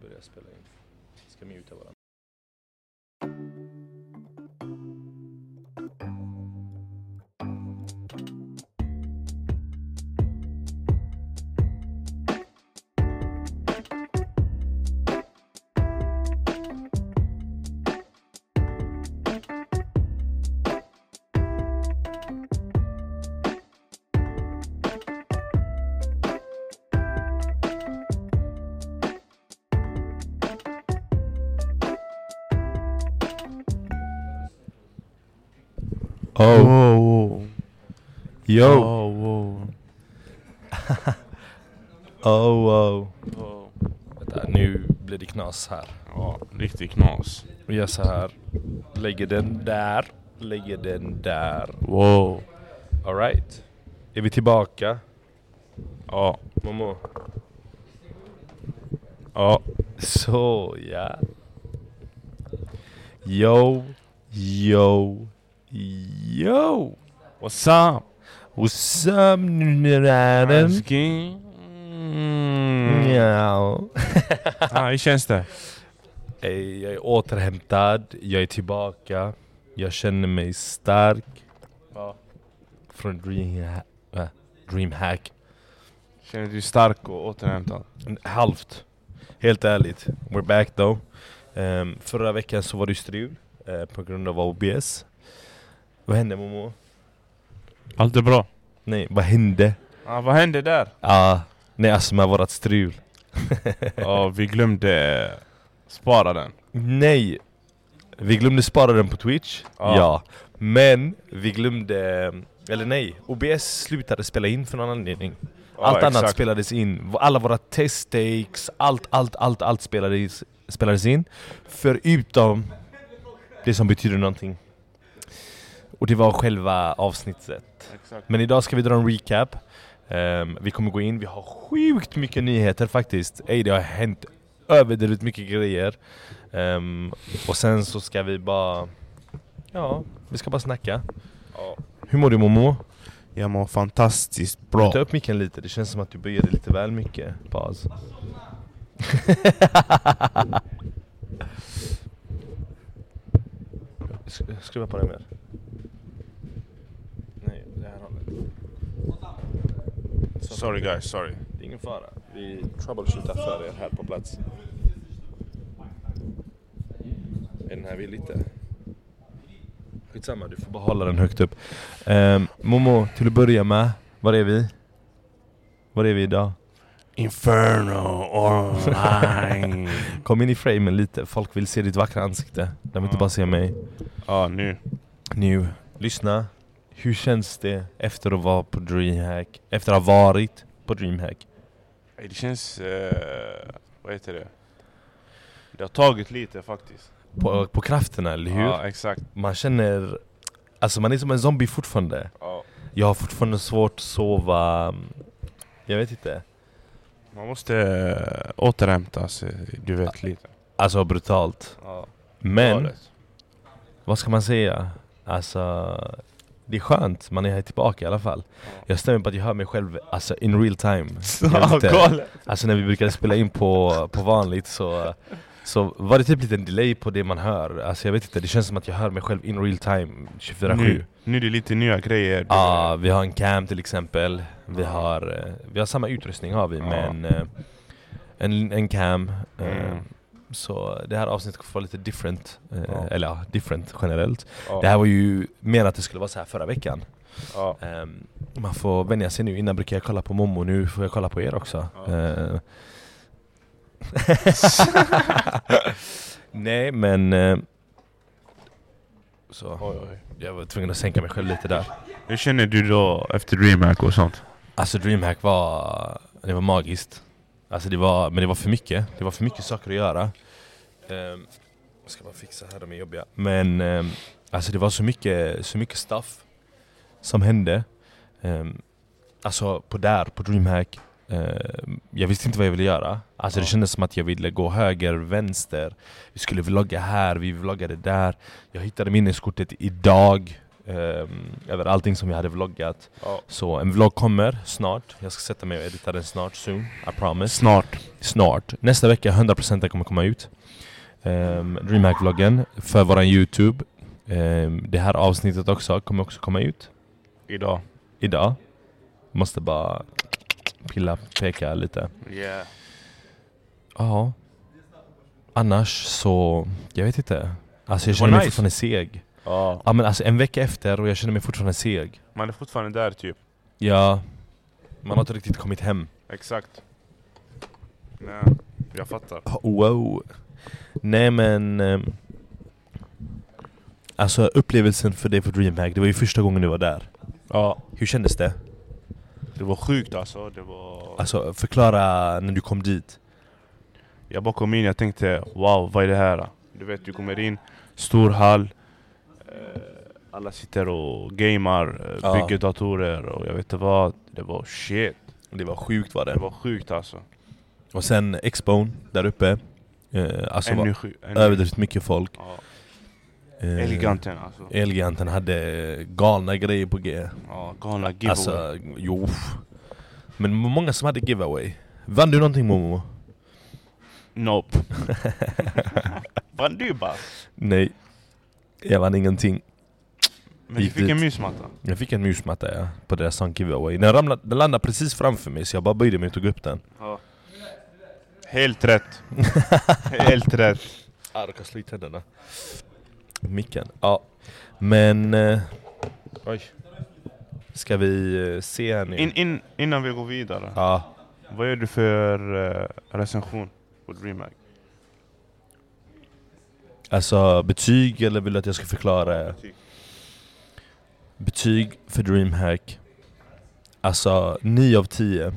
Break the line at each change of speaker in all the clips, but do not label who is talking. börja spela in. Ska muta varandra.
Oh,
Wow.
yo, oh,
Oh, wow.
Oh, wow.
Vänta, nu blir det knas här.
Ja, riktigt knas.
Vi gör så här. Lägger den där. Lägger den där.
Wow.
Alright. Är vi tillbaka?
Ja,
Momo?
ja.
Så ja. Yo, yo, yo.
What's up?
What's up nunnären?
Älskling? Mm.
Ja.
Ja, hur känns det?
Ey, Jag är återhämtad, jag är tillbaka. Jag känner mig stark
Ja.
från dream, äh, Dreamhack.
Känner du dig stark och återhämtad?
En Halvt. Helt ärligt. We're back though. Ehm, förra veckan så var det strul eh, på grund av OBS. Vad hände Momo?
Allt är bra.
Nej, vad hände?
Ja, vad hände där?
Ah, nej alltså med vårat strul.
Ja, vi glömde spara den.
Nej! Vi glömde spara den på Twitch,
Ja.
ja. Men vi glömde... Eller nej, OBS slutade spela in för någon anledning.
Ja,
allt annat
exakt.
spelades in. V- Alla våra teststakes, allt, allt, allt, allt spelades, spelades in. Förutom det som betyder någonting. Och det var själva avsnittet.
Exakt.
Men idag ska vi dra en recap. Ehm, vi kommer gå in, vi har sjukt mycket nyheter faktiskt. Ey, det har hänt överdrivet mycket grejer. Ehm, och sen så ska vi bara... Ja, vi ska bara snacka.
Ja.
Hur mår du Momo?
Jag mår fantastiskt bra.
Ta upp micken lite, det känns som att du böjer dig lite väl mycket. Paus. Sk- Skruva på den mer. Nej, det här hållet.
Sorry guys, sorry.
Det är ingen fara. Vi troubleshootar för er här på plats. Är den här vill lite? Skitsamma, du får bara hålla den högt upp. Um, Momo, till att börja med. Var är vi? Var är vi idag?
Inferno online.
Kom in i framen lite. Folk vill se ditt vackra ansikte. De vill inte
Ja.
bara se mig.
ja, nu.
Nu, lyssna. Hur känns det efter att vara på DreamHack? Efter att ha varit på DreamHack?
Ey, Det känns... eh, vad heter det? Det har tagit lite faktiskt.
På, på krafterna, eller hur?
Ja, exakt.
Man känner... Alltså man är som en zombie fortfarande.
Ja.
Jag har fortfarande svårt att sova. Jag vet inte.
Man måste eh, återhämta sig, du vet lite.
Alltså brutalt.
Ja.
Men, vad ska man säga? Alltså, det är skönt. Man är här tillbaka i alla fall. Jag stämmer på att jag hör mig själv alltså, in real time. Jag vet inte.
Galet!
Alltså när vi brukade spela in på, på vanligt så, så var det typ lite en delay på det man hör. Alltså jag vet inte, det känns som att jag hör mig själv in real time 24-7.
Nu, nu är det lite nya grejer.
Ja, vi har en cam till exempel. Vi har, eh, vi har samma utrustning har vi,
Ja.
men eh, en, en cam. eh,
Mm.
Så det här avsnittet kommer vara lite different. eh,
Ja.
Eller ja, different generellt.
Ja,
Det här var ju menat att det skulle vara så här förra veckan.
ja.
Ehm, man får vänja sig nu. Innan brukade jag kolla på Momo, nu får jag kolla på er också.
Ja.
Eh. Nej men... eh, Så,
Oj, oj.
jag var tvungen att sänka mig själv lite där.
Hur känner du då efter DreamHack och sånt?
Alltså DreamHack var... Det var magiskt. Alltså det var... Men det var för mycket. Det var för mycket saker att göra. Ehm, jag ska bara fixa här, de är jobbiga. Men ehm, alltså det var så mycket, så mycket stuff som hände. Ehm, alltså på där, på DreamHack. ehm, jag visste inte vad jag ville göra. Alltså det
Ja.
kändes som att jag ville gå höger, vänster. Vi skulle vlogga här, vi vloggade där. Jag hittade minneskortet idag. ehm, över allting som jag hade vloggat.
Ja.
Så en vlogg kommer snart. Jag ska sätta mig och edita den snart, soon. I promise.
Snart.
Snart. Nästa vecka, 100% den kommer komma ut. Ehm, DreamHack-vloggen för våran Youtube. Ehm, det här avsnittet också kommer också komma ut
Idag.
idag. Måste bara pilla, peka lite.
Yeah.
Ja. Annars så, jag vet inte. Alltså jag
Det var
känner mig
nice.
fortfarande seg.
Ja.
Ja men alltså en vecka efter och jag känner mig fortfarande seg.
Man är fortfarande där typ.
Ja. Man har inte riktigt kommit hem.
Exakt. Nej, jag fattar.
Wow. Nej men... ehm, Alltså upplevelsen för dig för DreamHack, det var ju första gången du var där.
Ja.
Hur kändes det?
Det var sjukt alltså. Det var...
Alltså förklara när du kom dit.
Jag bara kom in jag tänkte wow, vad är det här? Du vet, du kommer in, stor hall. eh, Alla sitter och gamer, eh,
Ja.
bygger datorer och jag vet inte vad. Det var shit.
Det var sjukt var
Det var sjukt alltså.
Och sen Expone där uppe. Eh, alltså
Ännu
var
sju- ännu-
överdrivet mycket folk.
Ja.
Eh,
Eleganten alltså.
Elgiganten hade galna grejer på G.
Ja, galna giveaway.
Alltså, jo. Men många som hade giveaway. Vann du någonting Momo?
Nope. Vann du bara?
Nej. Jag vann ingenting.
Men du
Gick
fick en
dit.
mysmatta.
Jag fick en musmatta ja, på deras sån giveaway. Den, ramlade, den landade precis framför mig så jag bara böjde mig och tog upp den.
Ja. Helt rätt. Helt rätt.
Ah, du kan slå i tänderna. Micken. Ja. Men... Eh, oj. Ska vi eh, se här nu?
In, in, innan vi går vidare,
ja.
vad gör du för eh, recension på DreamHack?
Alltså betyg eller vill du att jag ska förklara? Betyg för DreamHack Alltså 9 av 10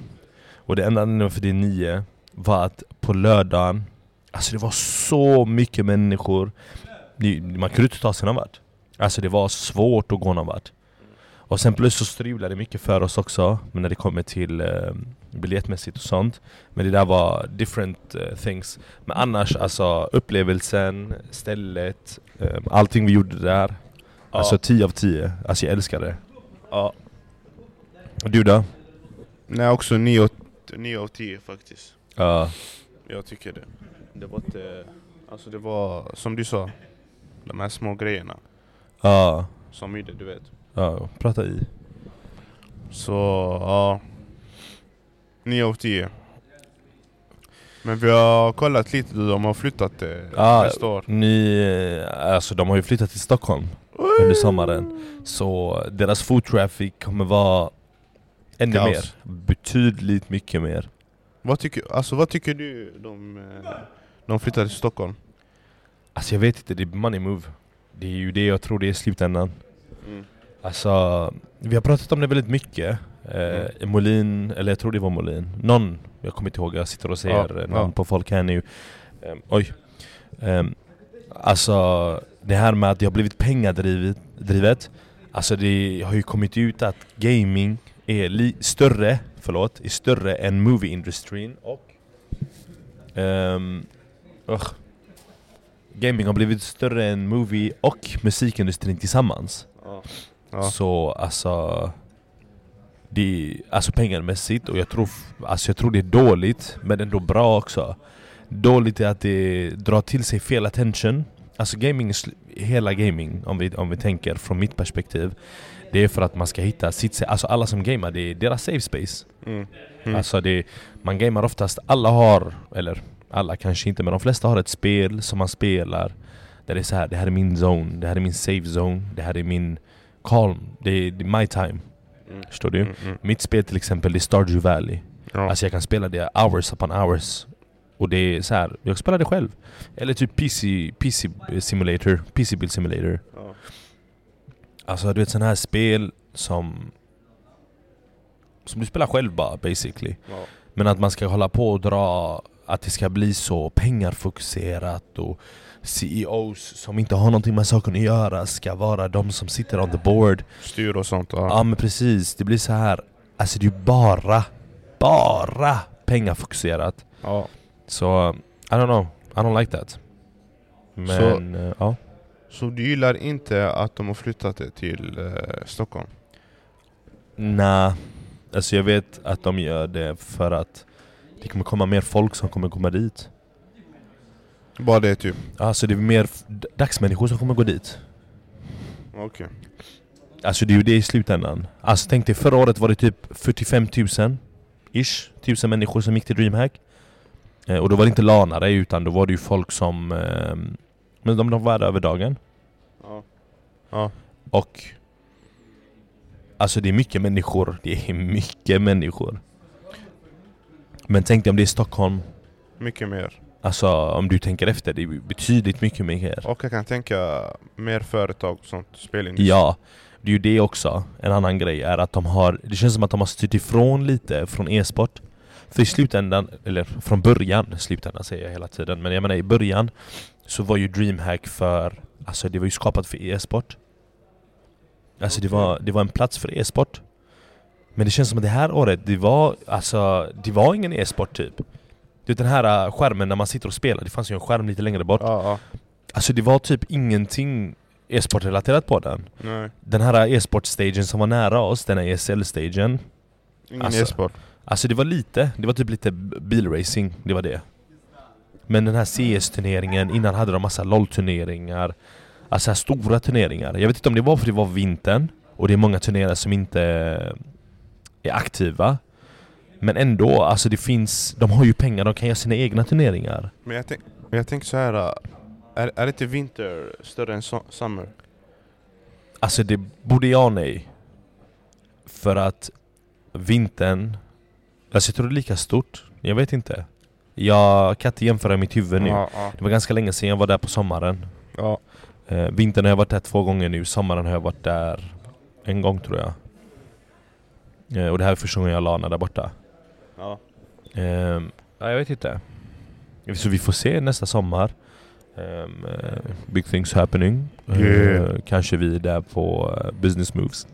Och det enda anledningen för det är 9 Var att på lördagen Alltså det var så mycket människor det, Man kunde inte ta sig någon vart Alltså det var svårt att gå någon vart Och sen plus så strulade det mycket för oss också Men när det kommer till eh, biljettmässigt och sånt Men det där var different eh, things Men annars alltså upplevelsen, stället eh, Allting vi gjorde där Alltså 10 av 10, alltså jag älskar det.
Ja.
Och du då?
Nej, också 9, 9 av 10 faktiskt.
Ja.
Jag tycker det. Det var inte... Alltså det var, som du sa, de här små grejerna
Ja.
som gjorde, du vet.
Ja, prata i.
Så, ja. 9 av 10. Men vi har kollat lite, de har flyttat det
Ja.
nästa år.
Ni, eh, alltså de har ju flyttat till Stockholm under sommaren. Så deras food traffic kommer vara ännu
Kaos.
mer. Betydligt mycket mer.
Vad tycker, alltså, vad tycker du de, eh, de flyttade till Stockholm?
Alltså jag vet inte, det är money move. Det är ju det jag tror det är i slutändan.
Mm.
Alltså, vi har pratat om det väldigt mycket. Eh,
Mm.
Molin, eller jag tror det var Molin. Någon, jag kommer inte ihåg, jag sitter och säger
Ja,
namn
ja.
på folk här nu. Ehm, oj. Um, alltså, det här med att det har blivit pengadrivet. Drivet, alltså det har ju kommit ut att gaming är li- större, förlåt, är större än movie-industrin och... ehm, ugh. Gaming har blivit större än movie och musikindustrin tillsammans.
Ja.
Så alltså det är, alltså pengamässigt och jag tror, f- alltså jag tror det är dåligt men ändå bra också. Dåligt är att det drar till sig fel attention. Alltså gaming, är sl- hela gaming om vi, om vi tänker från mitt perspektiv. Det är för att man ska hitta sitt sa- alltså alla som gamer det är deras safe space.
Mm. Mm.
Alltså det, man gamer oftast, alla har, eller alla kanske inte men de flesta har ett spel som man spelar där det är så här, det här är min zone, det här är min safe zone, det här är min calm, det är, det är my time.
Mm.
Förstår du?
Mm, mm.
Mitt spel till exempel det är Stardew Valley.
Ja.
Alltså jag kan spela det hours upon hours. Och det är så här, jag spelar det själv. Eller typ PC, PC simulator, PC build simulator.
Ja.
Alltså du vet sådana här spel som... Som du spelar själv bara basically.
Ja.
Men att man ska hålla på och dra att det ska bli så pengarfokuserat och CEOs som inte har någonting med saken att göra ska vara de som sitter on the board.
Styr och sånt.
Ja men precis, det blir så här. Alltså det är ju bara, bara pengafokuserat.
Ja.
Så I don't know, I don't like that. Men
Så-
eh, ja.
Så du gillar inte att de har flyttat det till eh, Stockholm?
Nej, alltså jag vet att de gör det för att det kommer komma mer folk som kommer komma dit.
Bara det typ?
Alltså det är mer f- d- dagsmänniskor som kommer gå dit.
Okej.
Alltså det är ju det i slutändan. Alltså tänk dig, förra året var det typ 45 000 ish, tusen människor som gick till DreamHack. Eh, och då var det inte lanare utan då var det ju folk som... Eh, men de, de var där över dagen.
Ja.
Och... Alltså det är mycket människor. Det är mycket människor. Men tänk dig om det är Stockholm.
Mycket mer.
Alltså om du tänker efter, det är ju betydligt mycket mer.
Och jag kan tänka mer företag och sånt, spelindustri.
Ja, det är ju det också. En annan grej är att de har, det känns som att de har styrt ifrån lite från e-sport. För i slutändan, eller från början, slutändan säger jag hela tiden, men jag menar i början så var ju DreamHack för, alltså det var ju skapat för e-sport. Alltså det, var, det var en plats för e-sport. Men det känns som att det här året, det var alltså, det var ingen e-sport typ. Du vet den här äh, skärmen när man sitter och spelar, det fanns ju en skärm lite längre bort.
Ja, ja.
Alltså det var typ ingenting e-sportrelaterat på den.
Nej.
Den här e-sportstagen som var nära oss, den här ESL-stagen
Ingen
Alltså-
e-sport.
Alltså det var lite, det var typ lite b- bilracing, det var det Men den här CS-turneringen, innan hade de massa LOL-turneringar Alltså här stora turneringar, jag vet inte om det var för det var vintern Och det är många turneringar som inte är aktiva Men ändå, alltså det finns, de har ju pengar, de kan göra sina egna turneringar
Men jag, tänk, men jag tänker så här. äh, Är, är inte vinter större än so- summer?
Alltså det borde jag nej. För att vintern, alltså jag tror det är lika stort. Jag vet inte. Jag kan inte jämföra i mitt huvud nu.
Ja, ja.
Det var ganska länge sedan jag var där på sommaren.
ja.
Eh, vintern har jag varit där två gånger nu, sommaren har jag varit där en gång tror jag. Eh, och det här är första gången jag lanar där borta.
ja.
Ehm, ja, jag vet inte. Så vi får se nästa sommar. Ehm, eh, big things happening. Ehm,
Yeah.
kanske vi är där på eh, business moves.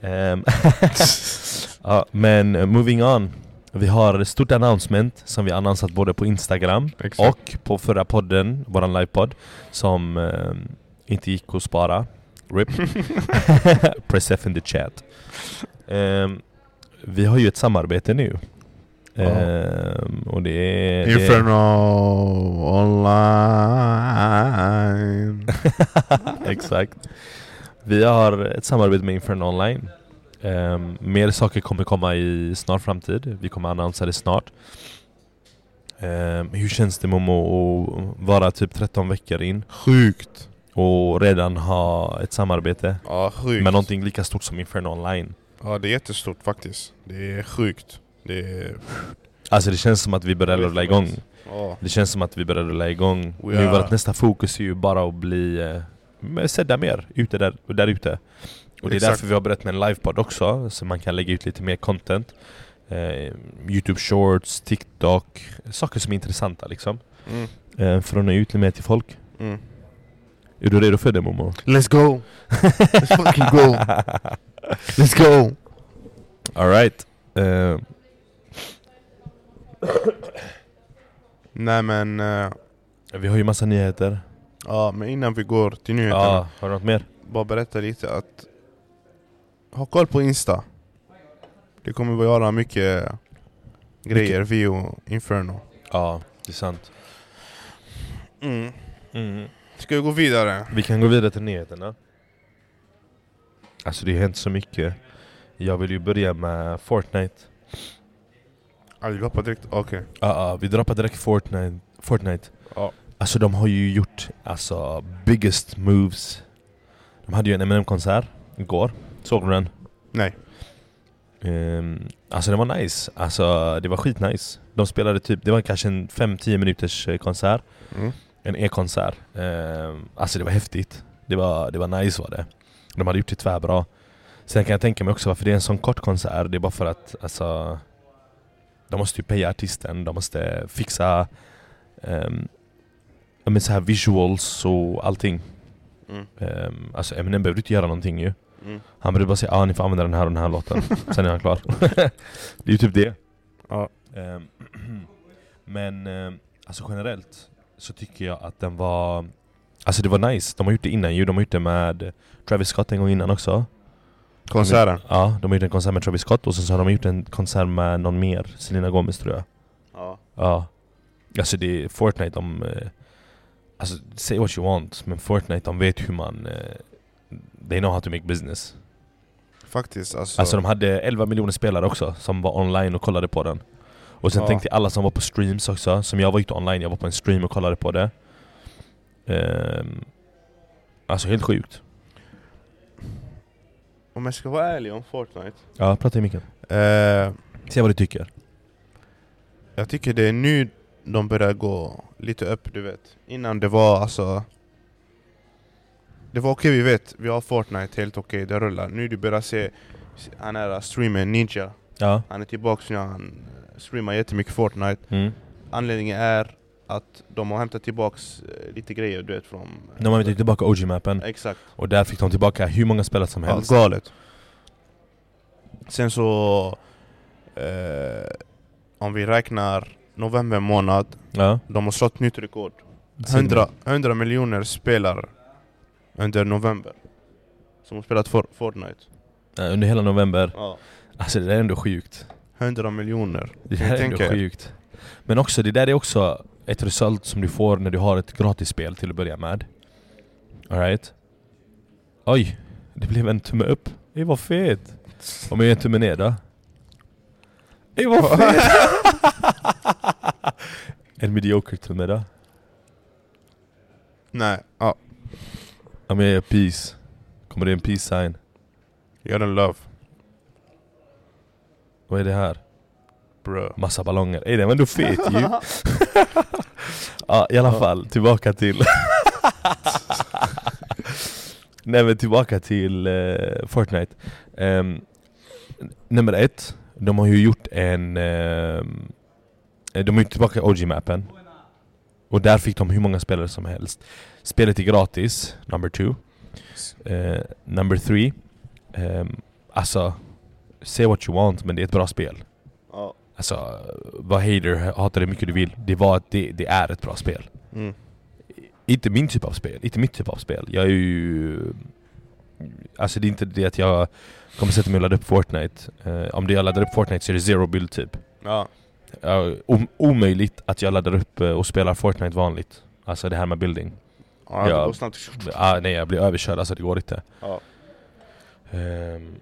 Ehm, ja, men eh, moving on. Vi har ett stort announcement som vi annonsat både på Instagram
Exakt.
och på förra podden, våran livepodd, som ehm, inte gick att spara. RIP. Press F in the chat. Ehm, vi har ju ett samarbete nu. Ehm, och det är... det-
online.
Exakt. Vi har ett samarbete med Inferno Online. Ehm, mer saker kommer komma i snar framtid. Vi kommer annonsera det snart. Ehm, hur känns det Momo att vara typ 13 veckor in
Sjukt.
och redan ha ett samarbete
Ja, sjukt.
med någonting lika stort som Inferno Online?
Ja, det är jättestort faktiskt. Det är sjukt. Det är...
Alltså det känns som att vi börjar
Jag vet
rulla
inte
igång.
vad Ja.
Det känns som att vi börjar rulla igång.
We
Nu
are-
vårt nästa fokus är ju bara att bli eh, men sedda mer ute där, där ute. Och det är
Exakt.
därför vi har börjat med en livepodd också, så man kan lägga ut lite mer content. Eh, Youtube shorts, TikTok, saker som är intressanta liksom.
Mm.
Eh, för att nå ut lite mer till folk.
Mm.
Är du redo för det Momo?
Let's go! Let's fucking go! Let's go!
Alright. Eh,
Nej men, eh,
vi har ju massa nyheter.
ja men innan vi går till
Ja,
nyheterna.
har du något mer?
Bara berätta lite att ha koll på Insta. Det kommer vi göra mycket grejer, vi och Inferno.
Ja, det är sant.
Mm.
Mm.
Ska vi gå vidare?
Vi kan gå vidare till nyheterna. Alltså det har hänt så mycket. Jag vill ju börja med Fortnite.
Ja, Ah, vi hoppar direkt, okej.
Ja, ja, vi droppar direkt Fortnite. Fortnite.
Ja.
Alltså de har ju gjort alltså, biggest moves. De hade ju en Eminem-konsert igår. Såg du den?
Nej.
Ehm, alltså det var nice. Alltså det var skitnice. De spelade typ, det var kanske en 5-10 minuters eh, konsert.
Mm.
En e-konsert. Ehm, alltså det var häftigt. Det var, det var nice var det. De hade gjort det tvärbra. Sen kan jag tänka mig också varför det är en sån kort konsert. Det är bara för att alltså, de måste ju paya artisten. De måste fixa ehm, ja, men så här visuals och allting.
Mm.
Ehm, alltså Eminem behövde inte göra någonting ju.
Mm.
Han behövde bara säga ja ah, ni får använda den här och den här låten. Sen är han klar. det är ju typ det.
Ja.
Ehm, Men ehm, alltså generellt så tycker jag att den var Alltså det var nice, de har gjort det innan ju, de har gjort det med Travis Scott en gång innan också
Konserten?
Ja, de har gjort en konsert med Travis Scott och sen så har de gjort en konsert med någon mer, Selena Gomez tror jag
Ja.
Ja Alltså det är Fortnite de... eh, Alltså say what you want, men Fortnite de vet hur man... eh, They know how to make business
Faktiskt alltså.
Alltså de hade 11 miljoner spelare också som var online och kollade på den Och sen
Ja.
tänkte jag alla som var på streams också, som jag var inte online, jag var på en stream och kollade på det Ehm, Alltså helt sjukt
Om jag ska vara ärlig om Fortnite
Ja, prata i micken
eh,
Se vad du tycker
jag tycker det är nu de börjar gå lite upp, du vet. Innan det var alltså... Det var okej, vi vet. Vi har Fortnite, helt okej, det rullar. Nu du börjar se han är streamer Ninja.
Ja,
Han är tillbaks nu, han eh, streamar jättemycket Fortnite.
mm.
Anledningen är att de har hämtat tillbaks eh, lite grejer, du vet, från... eh,
de har tagit tillbaka OG-mappen
Exakt.
och där fick de tillbaka hur många spelare som
Ja,
helst
galet. Sen så... Eh, om vi räknar november månad,
Ja,
de har slått nytt rekord.
Sydney.
100, 100 miljoner spelare under november. Som har spelat for, Fortnite.
Eh, under hela november
Ja.
Alltså det där är ändå sjukt
100 miljoner.
Det där är ändå
tänker.
sjukt Men också, det där är också ett result som du får när du har ett gratis spel till att börja med Alright? Oj! Det blev en tumme upp Det var fet! Om jag gör en tumme ner då? Det var fet! en medioker tumme då?
Nej, ja.
Om jag gör peace Kommer det en peace sign?
Gör en love.
Vad är det här?
Bro.
Massa ballonger. Ey, den var ändå fet ju. ja, i alla fall. Tillbaka till... nej men tillbaka till eh, Fortnite. Ehm, nummer ett. De har ju gjort en... ehm, de har gjort tillbaka OG-mappen. Och där fick de hur många spelare som helst. Spelet är gratis, number two. Eh, number three. Um, alltså, say what you want men det är ett bra spel.
Ja.
Alltså, vad hater, hatar det mycket du vill. Det, var, att det, det är ett bra spel.
Mm.
Inte min typ av spel, inte mitt typ av spel. Jag är ju... Alltså det är inte det att jag kommer sätta mig och ladda upp Fortnite. Eh, om det jag laddar upp Fortnite så är det zero build typ.
Ja.
Uh, om, omöjligt att jag laddar upp eh, och spelar Fortnite vanligt. Alltså det här med building.
Ja,
Ja.
Det går snabbt.
Ah, nej, jag blir överkörd alltså, det går inte.
Ja.
Ehm,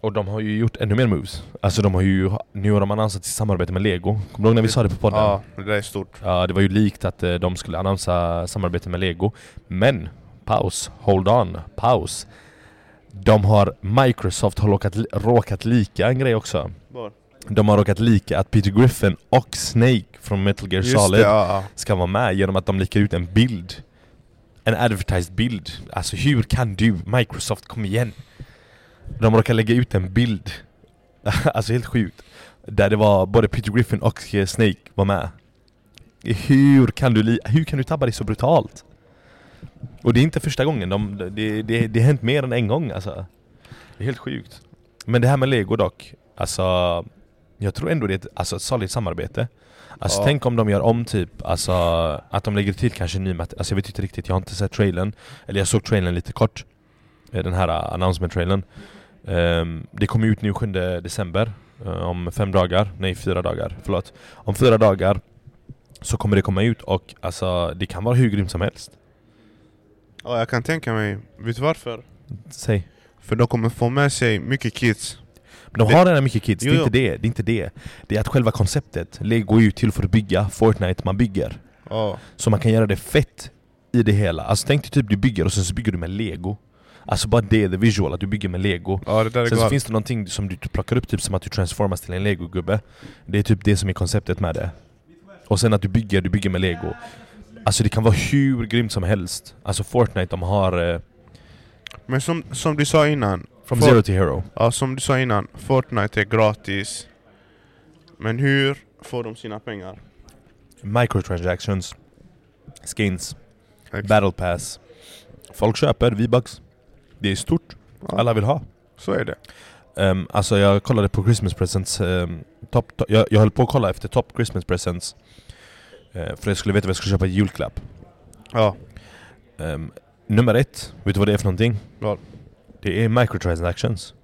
och de har ju gjort ännu mer moves. Alltså de har ju, nu har de annonsat sitt samarbete med Lego. Kommer du ihåg när vi sa det på podden?
Ja, det där är stort.
Ja, det var ju likt att eh, de skulle annonsera samarbete med Lego. Men, paus, hold on, paus. De har, Microsoft har råkat, råkat lika en grej också.
Var?
De har råkat lika att Peter Griffin och Snake från Metal Gear
Just det,
Solid
ja.
ska vara med genom att de lägger ut en bild. En advertised bild. Alltså hur kan du, Microsoft, kom igen! De råkar lägga ut en bild. alltså helt sjukt. Där det var både Peter Griffin och eh, Snake var med. Hur kan du, li- hur kan du tabba dig så brutalt? Och det är inte första gången, de, det, det, det har hänt mer än en gång alltså. Det är helt sjukt. Men det här med Lego dock, alltså jag tror ändå det är ett, alltså, ett solid samarbete. Alltså
Ja.
tänk om de gör om typ, alltså att de lägger till kanske ny mat- alltså jag vet inte riktigt, jag har inte sett trailern. Eller jag såg trailern lite kort. eh, Den här eh, announcement-trailern. Ehm, det kommer ut nu 7 december. eh, om fem dagar, nej fyra dagar, förlåt. Om fyra dagar så kommer det komma ut och alltså det kan vara hur grymt som helst.
ja. Jag kan tänka mig. Vet du varför?
Säg.
För de kommer få med sig mycket kids.
De
Det-
har redan mycket kids,
Jo,
det, är
jo.
inte det, det är inte det. Det är att själva konceptet, Lego är ju till för att bygga Fortnite man bygger.
Ja.
Så man kan göra det fett i det hela. Alltså tänk dig typ du bygger och sen så bygger du med Lego. Alltså bara det, the visual, att du bygger med Lego.
Ja, det där är
Sen så
galet.
finns det någonting som du plockar upp, typ som att du transformas till en legogubbe. Det är typ det som är konceptet med det. Och sen att du bygger, du bygger med lego. Alltså det kan vara hur grymt som helst. Alltså Fortnite, de har... Eh,
Men som, som du sa innan.
from
Fort-
zero to hero.
Ja, som du sa innan. Fortnite är gratis. Men hur får de sina pengar?
Microtransactions. Skins.
Exakt.
Battle pass. Folk köper V-bucks. Det är stort.
Ja.
Alla vill ha.
Så är det.
Um, alltså jag kollade på Christmas presents, ehm, top, to- jag, jag höll på att kolla efter top Christmas presents eh, För jag skulle veta vad jag skulle köpa i julklapp
Ja.
Ehm, nummer ett, vet du vad det är för någonting?
Vad?
Det är microtransactions.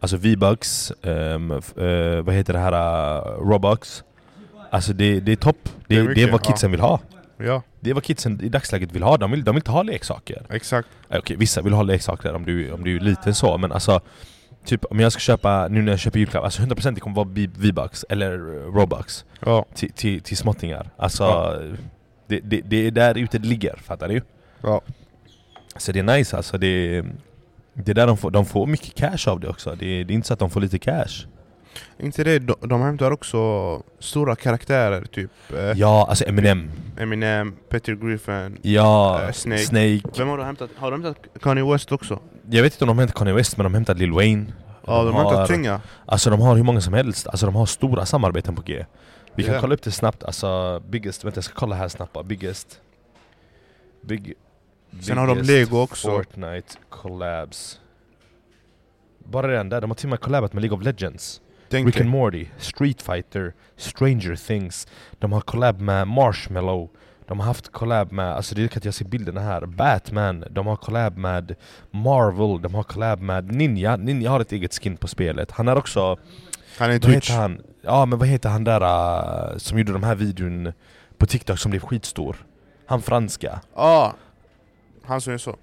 Alltså V-bucks, ehm, f- eh, vad heter det här, uh, Robux. Alltså det, det är topp. Det, det,
Det är
är
mycket,
vad kidsen vill ha.
Ja,
Det är vad kidsen i dagsläget vill ha. De vill, de vill inte ha leksaker.
exakt.
Eh, Okej, vissa vill ha leksaker om du, om du är liten så, men alltså Typ om jag ska köpa, nu när jag köper julklapp, alltså 100% det kommer vara B- V-bucks eller eh, Robux
Ja,
till, till, till småttingar. Alltså,
Ja.
det, det, det är där ute det ligger, fattar du?
ja.
Så det är nice alltså, det, det är där de får, de får mycket cash av det också. Det, det är inte så att de får lite cash.
Inte det, de, de hämtar också stora karaktärer typ eh,
Ja, alltså Eminem.
Eminem, Peter Griffin.
Ja,
Eh, Snake.
Snake.
Vem har de hämtat? Har de hämtat Kanye West också?
Jag vet inte om de hämtat Kanye West, men de hämtat Lil Wayne.
Ja, de har hämtat tunga.
Alltså de har hur många som helst, alltså de har stora samarbeten på G. Vi kan
Ja.
kolla upp det snabbt, alltså biggest, vänta jag ska kolla här snabbt bara, biggest. Big,
Sen har de
biggest
Lego också.
Fortnite collabs. Bara redan där, de har till och med collabat med League of Legends.
Tänk
Rick and
dig.
Morty, Street Fighter, Stranger Things. De har collab med Marshmallow. De har haft collab med, alltså det kan jag se bilderna här, Batman. De har collab med Marvel. De har collab med Ninja. Ninja har ett eget skin på spelet. Han är också
Han är
vad
Twitch.
heter han? Ja men vad heter han där äh, som gjorde de här videon på TikTok som blev skitstor? Han franska.
Ja. Han som är så.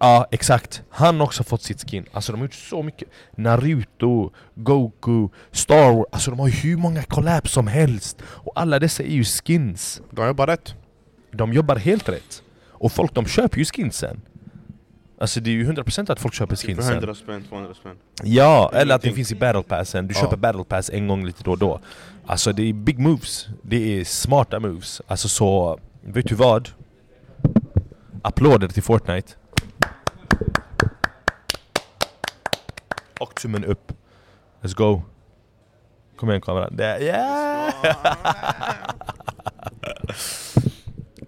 Ja exakt, han har också fått sitt skin. Alltså de har gjort så mycket. Naruto, Goku, Star Wars. Alltså de har ju hur många collabs som helst. Och alla dessa är ju skins.
De har bara rätt.
De jobbar helt rätt. Och folk de köper ju skinsen. Alltså det är ju 100% att folk köper
För
Typ
skinsen.
100 spänn, 200 spänn.
Ja, eller att den
Ingenting.
finns i battle passen. Du
Ja.
köper battle pass en gång lite då och då. Alltså det är big moves. Det är smarta moves. Alltså så, vet du vad? Applåder till Fortnite. Och tummen upp. Let's go. Kom igen kameran. Där, yeah!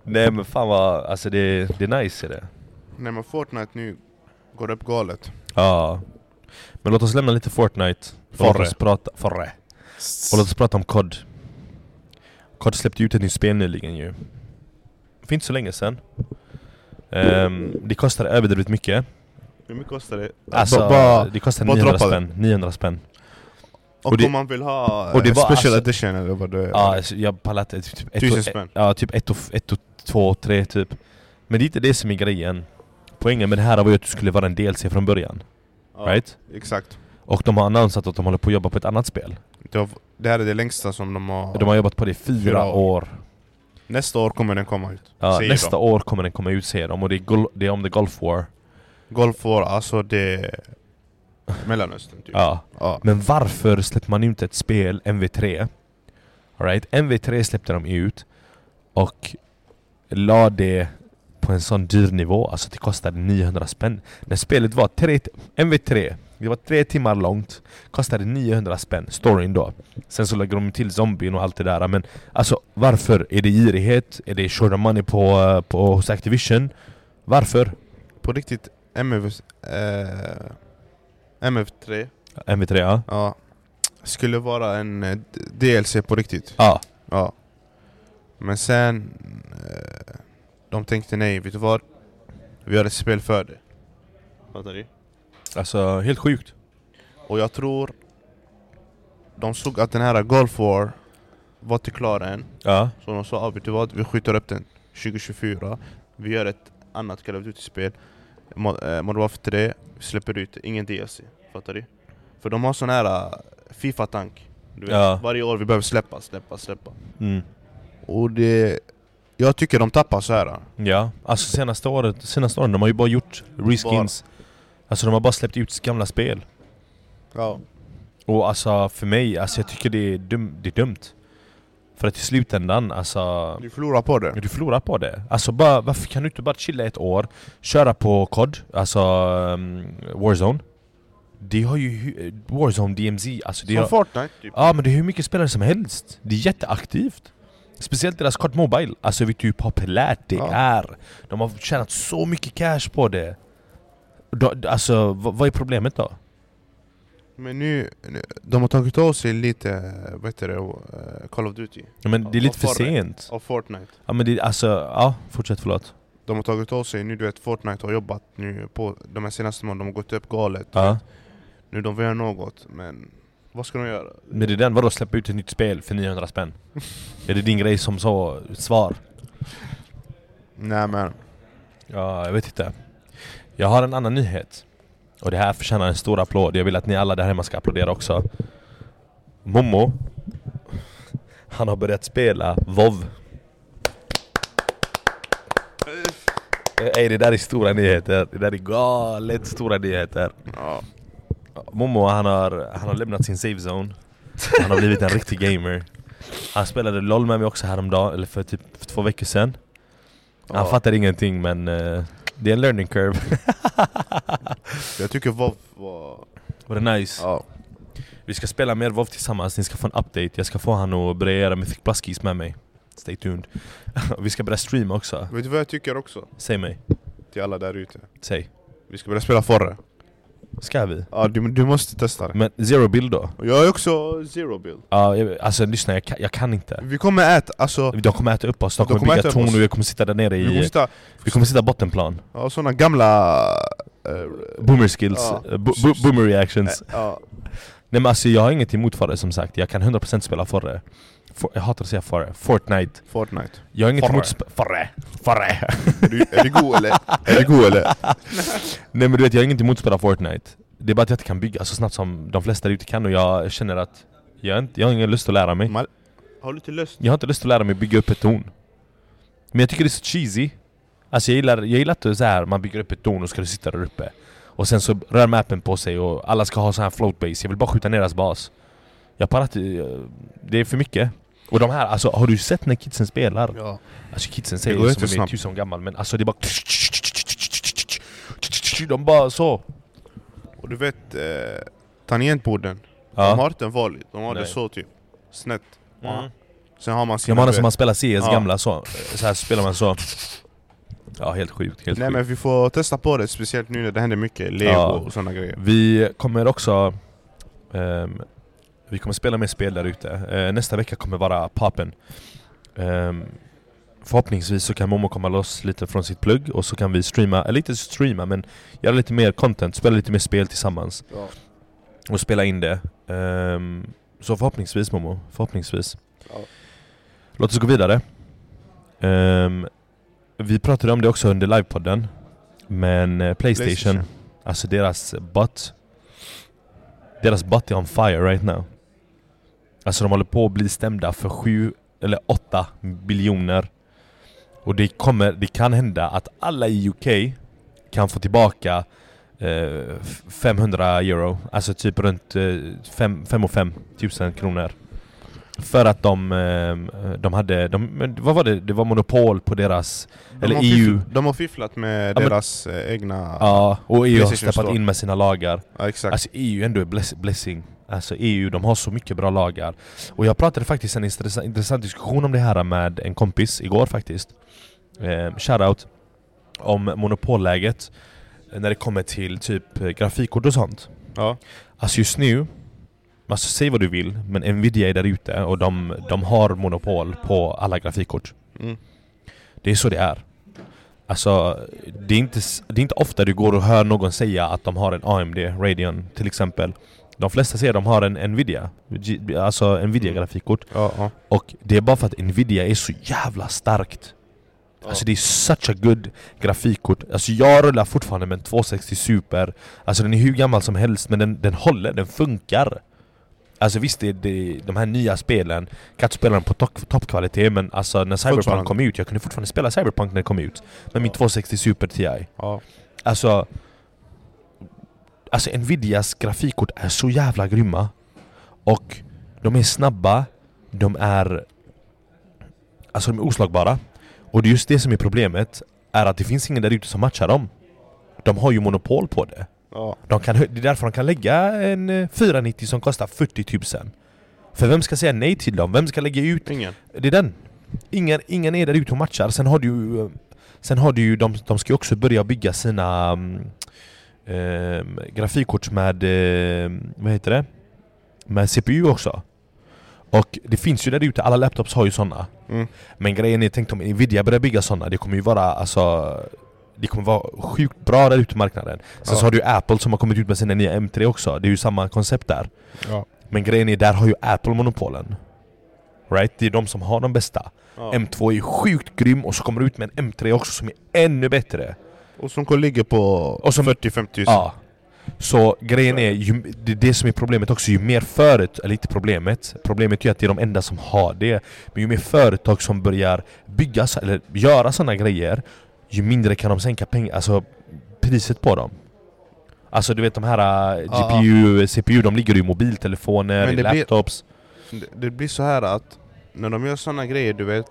Nej men fan vad, alltså det, det är nice är det.
När man Fortnite nu går upp galet.
Ja. Men låt oss lämna lite Fortnite. Och låt
Forre.
oss prata, forre. Och låt oss prata om COD. COD släppte ju ut ett nytt spel nyligen ju. För inte så länge sedan. Ehm, det kostar överdrivet mycket.
Hur mycket kostar det?
Alltså,
Ba- bara-
det kostar
bara
900
droppa det.
spänn. 900 spänn.
Och,
och det-
om man vill ha
och det
eh,
var
special
alltså-
edition eller vad det är?
Ja, alltså, jag pallar inte. Typ ett
Tusen
och-
spänn.
Ja, typ 1 och 1 och 2 3 typ. Men det är inte det som är grejen. Poängen med det här var ju att du skulle vara en DLC från början.
Ja,
Right?
Exakt.
Och de har annonsat att de håller på att jobba på ett annat spel.
Det, var, det här är det längsta som de har...
De har jobbat på det i fyra,
Fyra år.
år.
Nästa år kommer den komma ut.
Ja,
säger
nästa
de.
år kommer den komma ut säger de och det är, gol- det är om the Gulf War.
Golf War, alltså det... är Mellanöstern typ.
Ja.
Ja.
Men varför släpper man ut ett spel, MV3? Alright, MV3 släppte de ut och la det på en sån dyr nivå, alltså det kostade 900 spänn. När spelet var tre, t- MV3, det var tre timmar långt, kostade 900 spänn, storyn då. Sen så lägger de till zombien och allt det där, men alltså varför? Är det girighet? Är det short of money på, eh, på, hos Activision? Varför?
På riktigt, MF... Eh, MF3
MV3 ja.
ja, skulle vara en eh, d- DLC på riktigt.
Ja,
Ja. Men sen... Eh, de tänkte nej, vet du vad? Vi gör ett spel för det.
Fattar du?
alltså helt sjukt.
Och jag tror... De såg att den här Golf War var inte klar än.
Ja.
Så de sa ah, vet du vad, vi skjuter upp den 2024 Vi gör ett annat Call of Duty-spel Mo- eh, Modern Warfare 3, vi släpper ut, ingen DLC Fattar du? För de har sån här eh, Fifa-tank du vet,
Ja.
Varje år vi behöver släppa, släppa, släppa
Mm.
Och det... Jag tycker de tappar så här.
Ja, alltså senaste året, senaste åren, de har ju bara gjort reskins. Alltså de har bara släppt ut gamla spel.
Ja.
Och alltså för mig, alltså jag tycker det är, dum, det är dumt. För att i slutändan, alltså...
Du förlorar på det
Du förlorar på det. Alltså bara, varför kan du inte bara chilla ett år, köra på COD, alltså um, Warzone? Det har ju... hu- Warzone, DMZ, alltså det
Som
har,
Fortnite typ
Ja men det är hur mycket spelare som helst. Det är jätteaktivt. Speciellt deras kort Mobile. Alltså vet du hur populärt det
Ja.
är? De har tjänat så mycket cash på det. Då- d- alltså vad, vad är problemet då?
Men nu, nu- de har tagit av sig lite, vad heter det, eh, Call of Duty
Ja, men det är lite för
Varför?
sent.
Av Fortnite
Ja men det, alltså, ja fortsätt förlåt.
De har tagit åt sig nu, du vet Fortnite har jobbat nu på de här senaste månaderna, de har gått upp galet.
Ja.
Nu de vill göra något, men vad ska de göra?
Men det är den, vadå släppa ut ett nytt spel för 900 spänn? är det din grej som så svar?
Nej men,
Ja, jag vet inte. Jag har en annan nyhet. Och det här förtjänar en stor applåd. Jag vill att ni alla där hemma ska applådera också. Momo. Han har börjat spela WoW. Ey, det där är stora nyheter. Det där är galet stora nyheter.
ja.
Momo han har, han har lämnat sin safe zone. Han har blivit en riktig gamer. Han spelade LOL med mig också häromdagen, eller för typ för två veckor sedan. Han
Ja.
fattar ingenting men eh, det är en learning curve.
Jag tycker WoW var...
Var det nice?
Ja.
Vi ska spela mer WoW tillsammans, ni ska få en update. Jag ska få han att börja göra Mythic Pluskies med mig. Stay tuned. Vi ska börja streama också.
Vet du vad jag tycker också?
Säg mig.
Till alla där ute.
Säg.
Vi ska börja spela Forre.
Ska vi?
Ja, du, du måste testa det.
Men zero bill då?
Och Jag är också zero build.
Ja, jag- alltså lyssna, jag kan, jag kan inte.
Vi kommer äta, alltså...
De kommer äta upp oss, de
De
kommer
kommer
bygga
äta upp
torn
oss.
och jag kommer sitta där nere
Vi kommer
i...
sitta...
Vi kommer sitta bottenplan.
Ja, såna gamla... eh,
Boomer skills,
Ja.
eh, bo- bo- boomer
eh,
reactions.
ja.
Nej men alltså jag har inget emot Forre som sagt, jag kan 100% spela Forre. For, jag hatar att säga Forre. Fortnite.
Fortnite.
Jag har inget
Forre.
emot... sp- Forre! Forre!
Är du, är du god eller? Är du god eller?
Nej men du vet, jag har inget emot att spela Fortnite. Det är bara att jag inte kan bygga så snabbt som de flesta där ute kan och jag känner att jag, har inte, jag har ingen lust att lära mig.
Mal- har du inte lust?
Jag har inte lust att lära mig bygga upp ett torn. Men jag tycker det är så cheesy. Alltså jag gillar, jag gillar att det är så här, man bygger upp ett torn och ska du sitta där uppe. Och sen så rör mappen på sig och alla ska ha så här float base. Jag vill bara skjuta ner deras bas. Jag parar att eh, det är för mycket. Och de här, alltså har du sett när kidsen spelar?
Ja.
Alltså kidsen säger
går
det
ju
som
inte
är
snabbt.
tusen år gammal men alltså det är bara... De bara så.
Och du vet, eh, tangentborden.
Ja.
De har inte en vanlig, de har det
Nej.
så typ. Snett.
Mm.
Sen har man
Jag
sina...
menar
du
som
vet-
man spelar CS
Ja.
gamla så, så här spelar man så Ja helt sjukt, helt
Nej
sjukt
men vi får testa på det, speciellt nu när det händer mycket lego
Ja.
och såna grejer.
Vi kommer också ehm, Vi kommer spela mer spel där ute Eh, Nästa vecka kommer vara papen Ehm, Förhoppningsvis så kan Momo komma loss lite från sitt plugg och så kan vi streama, eller inte streama men göra lite mer content, spela lite mer spel tillsammans
Ja.
och spela in det Ehm, Så förhoppningsvis Momo, förhoppningsvis
Ja.
Låt oss gå vidare Ehm, Vi pratade om det också under livepodden Men eh, Playstation,
PlayStation.
Alltså deras butt Deras butt är on fire right now Alltså de håller på att bli stämda för sju eller åtta biljoner Och det kommer, det kan hända att alla i UK kan få tillbaka eh, f- 500 euro Alltså typ runt 5 eh, och 5 tusen kronor För att de, eh, de hade, de, men vad var det? Det var monopol på deras
De
Eller
har
EU.
fiffl- de har fifflat med
Ja, men-
deras eh, egna... Ja.
Ja, och EU har
Playstation
steppat
Store.
in med sina lagar
exakt.
Alltså EU ändå är bless- blessing Alltså EU, de har så mycket bra lagar Och jag pratade faktiskt en intressant, intressant diskussion om det här med en kompis igår faktiskt eh, Shoutout Om monopolläget eh, När det kommer till typ eh, grafikkort och sånt
ja.
Alltså just nu, alltså säg vad du vill, men Nvidia är där ute och de, de har monopol på alla grafikkort.
Mm.
Det är så det är. Alltså, det är, inte, s- det är inte ofta du går och hör någon säga att de har en AMD Radeon till exempel. De flesta säger att de har en Nvidia, G- alltså Nvidia-grafikkort.
Ja, ja.
Och det är bara för att Nvidia är så jävla starkt. Alltså det är such a good grafikkort. Alltså jag rullar fortfarande med en 260 Super. Alltså den är hur gammal som helst men den, den håller, den funkar. Alltså visst, det, det, de här nya spelen kan inte spela dem på topp- toppkvalitet men alltså när Cyberpunk
Fortfarande.
kom ut, jag kunde fortfarande spela Cyberpunk när det kom ut. Med min 260 Super Ti.
ja.
Alltså... Alltså Nvidias grafikkort är så jävla grymma. Och de är snabba, de är... Alltså de är oslagbara. Och det är just det som är problemet, är att det finns ingen där ute som matchar dem. De har ju monopol på det.
ja.
De kan, hö- det är därför de kan lägga en eh, 490 som kostar 40 000. För vem ska säga nej till dem? Vem ska lägga ut
Ingen.
det är den. Ingen, ingen är där ute och matchar. Sen har du eh, Sen har du ju, de, de ska ju också börja bygga sina mm, ehm, grafikkort med, eh, vad heter det? Med CPU också. Och det finns ju där ute, alla laptops har ju sådana.
Mm.
Men grejen är, tänk om Nvidia börjar bygga sådana, det kommer ju vara alltså det kommer vara sjukt bra där ute i marknaden. Sen
Ja.
så har du ju Apple som har kommit ut med sina nya M3 också, det är ju samma koncept där.
Ja.
Men grejen är, där har ju Apple monopolen. Right? Det är de som har de bästa.
Ja.
M2 är sjukt grym och så kommer det ut med en M3 också som är ännu bättre.
Och som kan ligga på
Och som
40-50 tusen.
Ja. Så grejen är, ju, det är det som är problemet också, ju mer företag, eller inte problemet, problemet är ju att det är de enda som har det. Men ju mer företag som börjar bygga, så- eller göra sådana grejer, ju mindre kan de sänka pengar, alltså priset på dem. Alltså du vet de här eh,
Ja.
GPU, CPU, de ligger ju i mobiltelefoner,
Men
i
det blir-
laptops.
Det, det blir så här att när de gör sådana grejer, du vet,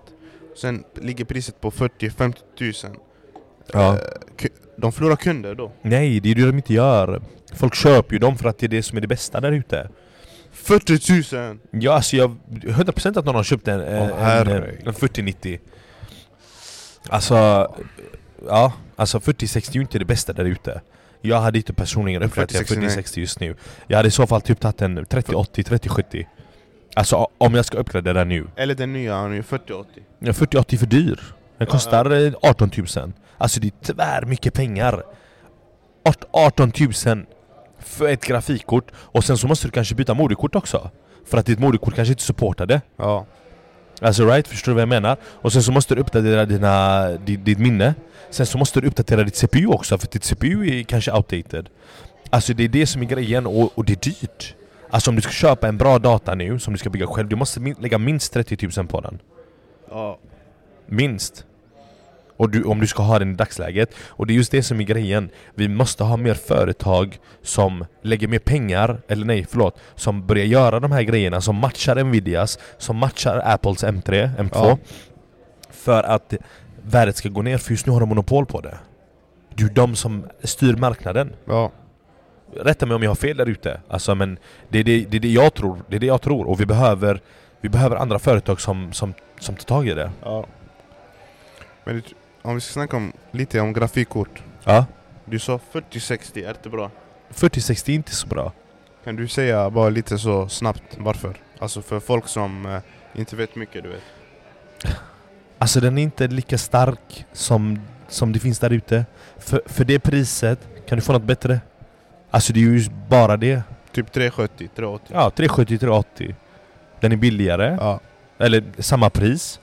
sen ligger priset på 40-50 tusen.
Ja.
Eh, ku- De förlorar kunder då.
Nej, det är det de inte gör. Folk köper ju dem för att det är det som är det bästa där ute.
40 tusen!
Ja, alltså jag... 100% att någon har köpt en, eh,
Åh,
en, eh,
herregud.
en 4090 Alltså... Ja, alltså 4060 är ju inte det bästa där ute Jag hade inte personligen upprättat en
4060, nej.
4060 just nu Jag hade i så fall typ tagit en 3080, 3070 Alltså om jag ska uppgradera den nu
Eller den nya, han är ju 40-80.
Ja, 4080 är för dyr Den
Ja,
kostar eh, 18 000 Alltså det är tyvärr mycket pengar Art- 18 000 för ett grafikkort Och sen så måste du kanske byta moderkort också För att ditt moderkort kanske inte supportar det
Ja.
Alltså right, förstår du vad jag menar? Och sen så måste du uppdatera dina, ditt, ditt minne Sen så måste du uppdatera ditt CPU också för ditt CPU är kanske outdated Alltså det är det som är grejen och, och det är dyrt Alltså om du ska köpa en bra data nu som du ska bygga själv Du måste min- lägga minst 30 000 på den
ja.
Minst. Och du, om du ska ha den i dagsläget. Och det är just det som är grejen. Vi måste ha mer företag som lägger mer pengar, eller nej förlåt, som börjar göra de här grejerna som matchar Nvidias, som matchar Apples M3, M2.
Ja.
För att värdet ska gå ner, för just nu har de monopol på det. Det är ju de som styr marknaden.
ja.
Rätta mig om jag har fel där ute. Alltså, men det är det, det, är det jag tror. Det är det jag tror. Och vi behöver, vi behöver andra företag som, som, som tar tag i det.
Ja. Men det, om vi ska snacka om, lite om grafikkort.
Ja.
Du sa 4060 är inte bra.
4060 är inte så bra.
Kan du säga bara lite så snabbt varför? Alltså för folk som eh, inte vet mycket, du vet.
Alltså den är inte lika stark som, som det finns där ute. För, för det priset kan du få något bättre. Alltså det är ju bara det.
Typ 370, 380.
Ja, 370-380. Den är billigare,
Ja.
eller samma pris.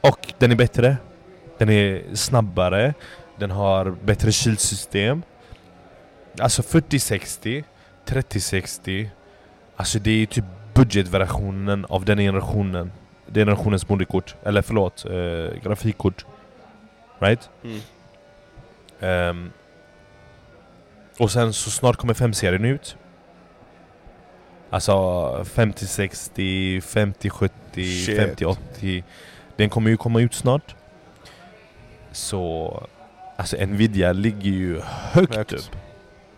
Och den är bättre. Den är snabbare. Den har bättre kylsystem. Alltså 4060, 3060. Alltså det är ju typ budgetversionen av den generationen. Den generationens moderkort. Eller förlåt, eh, grafikkort. Right?
Mm.
Ehm, och sen så snart kommer 5-serien ut. Alltså 50-60, 50-70,
Shit.
50-80. Den kommer ju komma ut snart. Så... Alltså Nvidia ligger ju högt,
Högt.
upp.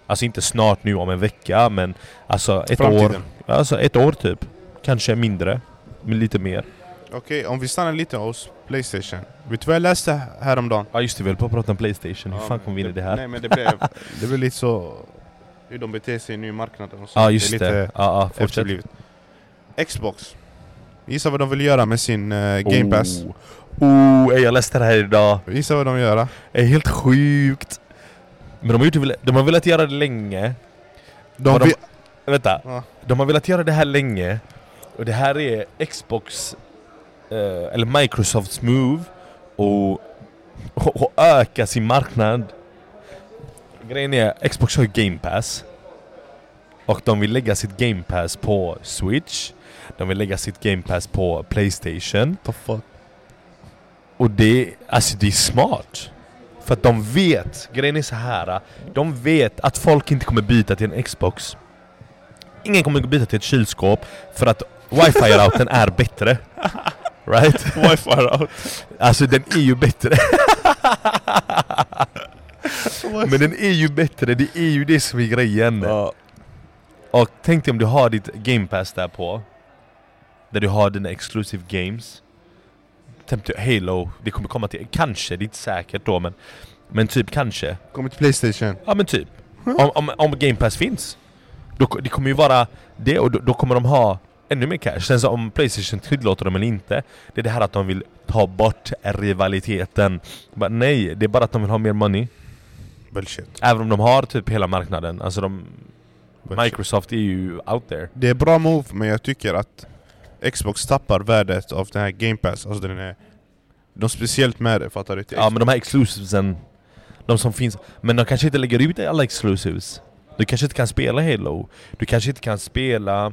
Alltså inte snart nu om en vecka men alltså ett år.
Framtiden.
Alltså ett år typ. Kanske mindre. Men lite mer.
Okej, om vi stannar lite hos Playstation. Vet du vad jag läste häromdagen?
Ja just det, vi höll på att prata om Playstation. Hur fan kom vi in i det här?
Nej men det blev, det blev lite så... Hur de beter sig nu i marknaden och så.
Ja just
är
det.
lite
Ja, ja, fortsätt.
efterblivet. Xbox. Gissa vad de vill göra med sin eh, Game Pass.
Oh, oh ey, jag läste det här idag.
Gissa vad de gör.
Det är helt sjukt. Men de har, gjort, det- de har velat göra det länge.
De
Vad de-
vill,
Vänta.
Ja.
De har velat göra det här länge. Och det här är Xbox... Eh, eller Microsofts move. Och, och, och öka sin marknad. Grejen är, Xbox har ju Game Pass. Och de vill lägga sitt Game Pass på Switch. De vill lägga sitt Game Pass på Playstation.
the fuck?
Och det, alltså det är smart. För att de vet, grejen är så här. De vet att folk inte kommer byta till en Xbox. Ingen kommer byta till ett kylskåp för att wifi-routern är bättre. Right?
Wifi out.
Alltså den är ju bättre. Men den är ju bättre, det är ju det som är grejen. Och tänk dig om du har ditt game pass där på. Där du har dina exclusive games. Tänk dig Halo, det kommer komma till, kanske, det är inte säkert då men Men typ kanske.
Kommer till Playstation.
Ja men typ. Om, om, om game pass finns. Då, ko- det kommer ju vara det och då, då kommer de ha ännu mer cash. Sen så om Playstation tillåter dem eller inte, det är det här att de vill ta bort rivaliteten. Bara, nej, det är bara att de vill ha mer money.
Bullshit.
Även om de har typ hela marknaden. Alltså de,
Bullshit.
Microsoft är ju out there.
Det är bra move, men jag tycker att Xbox tappar värdet av den här Game Pass. Alltså den är... De är speciellt med det, fattar du? Till
Ja men de här exclusivesen, de som finns. Men de kanske inte lägger ut alla exclusives. Du kanske inte kan spela Halo. Du kanske inte kan spela...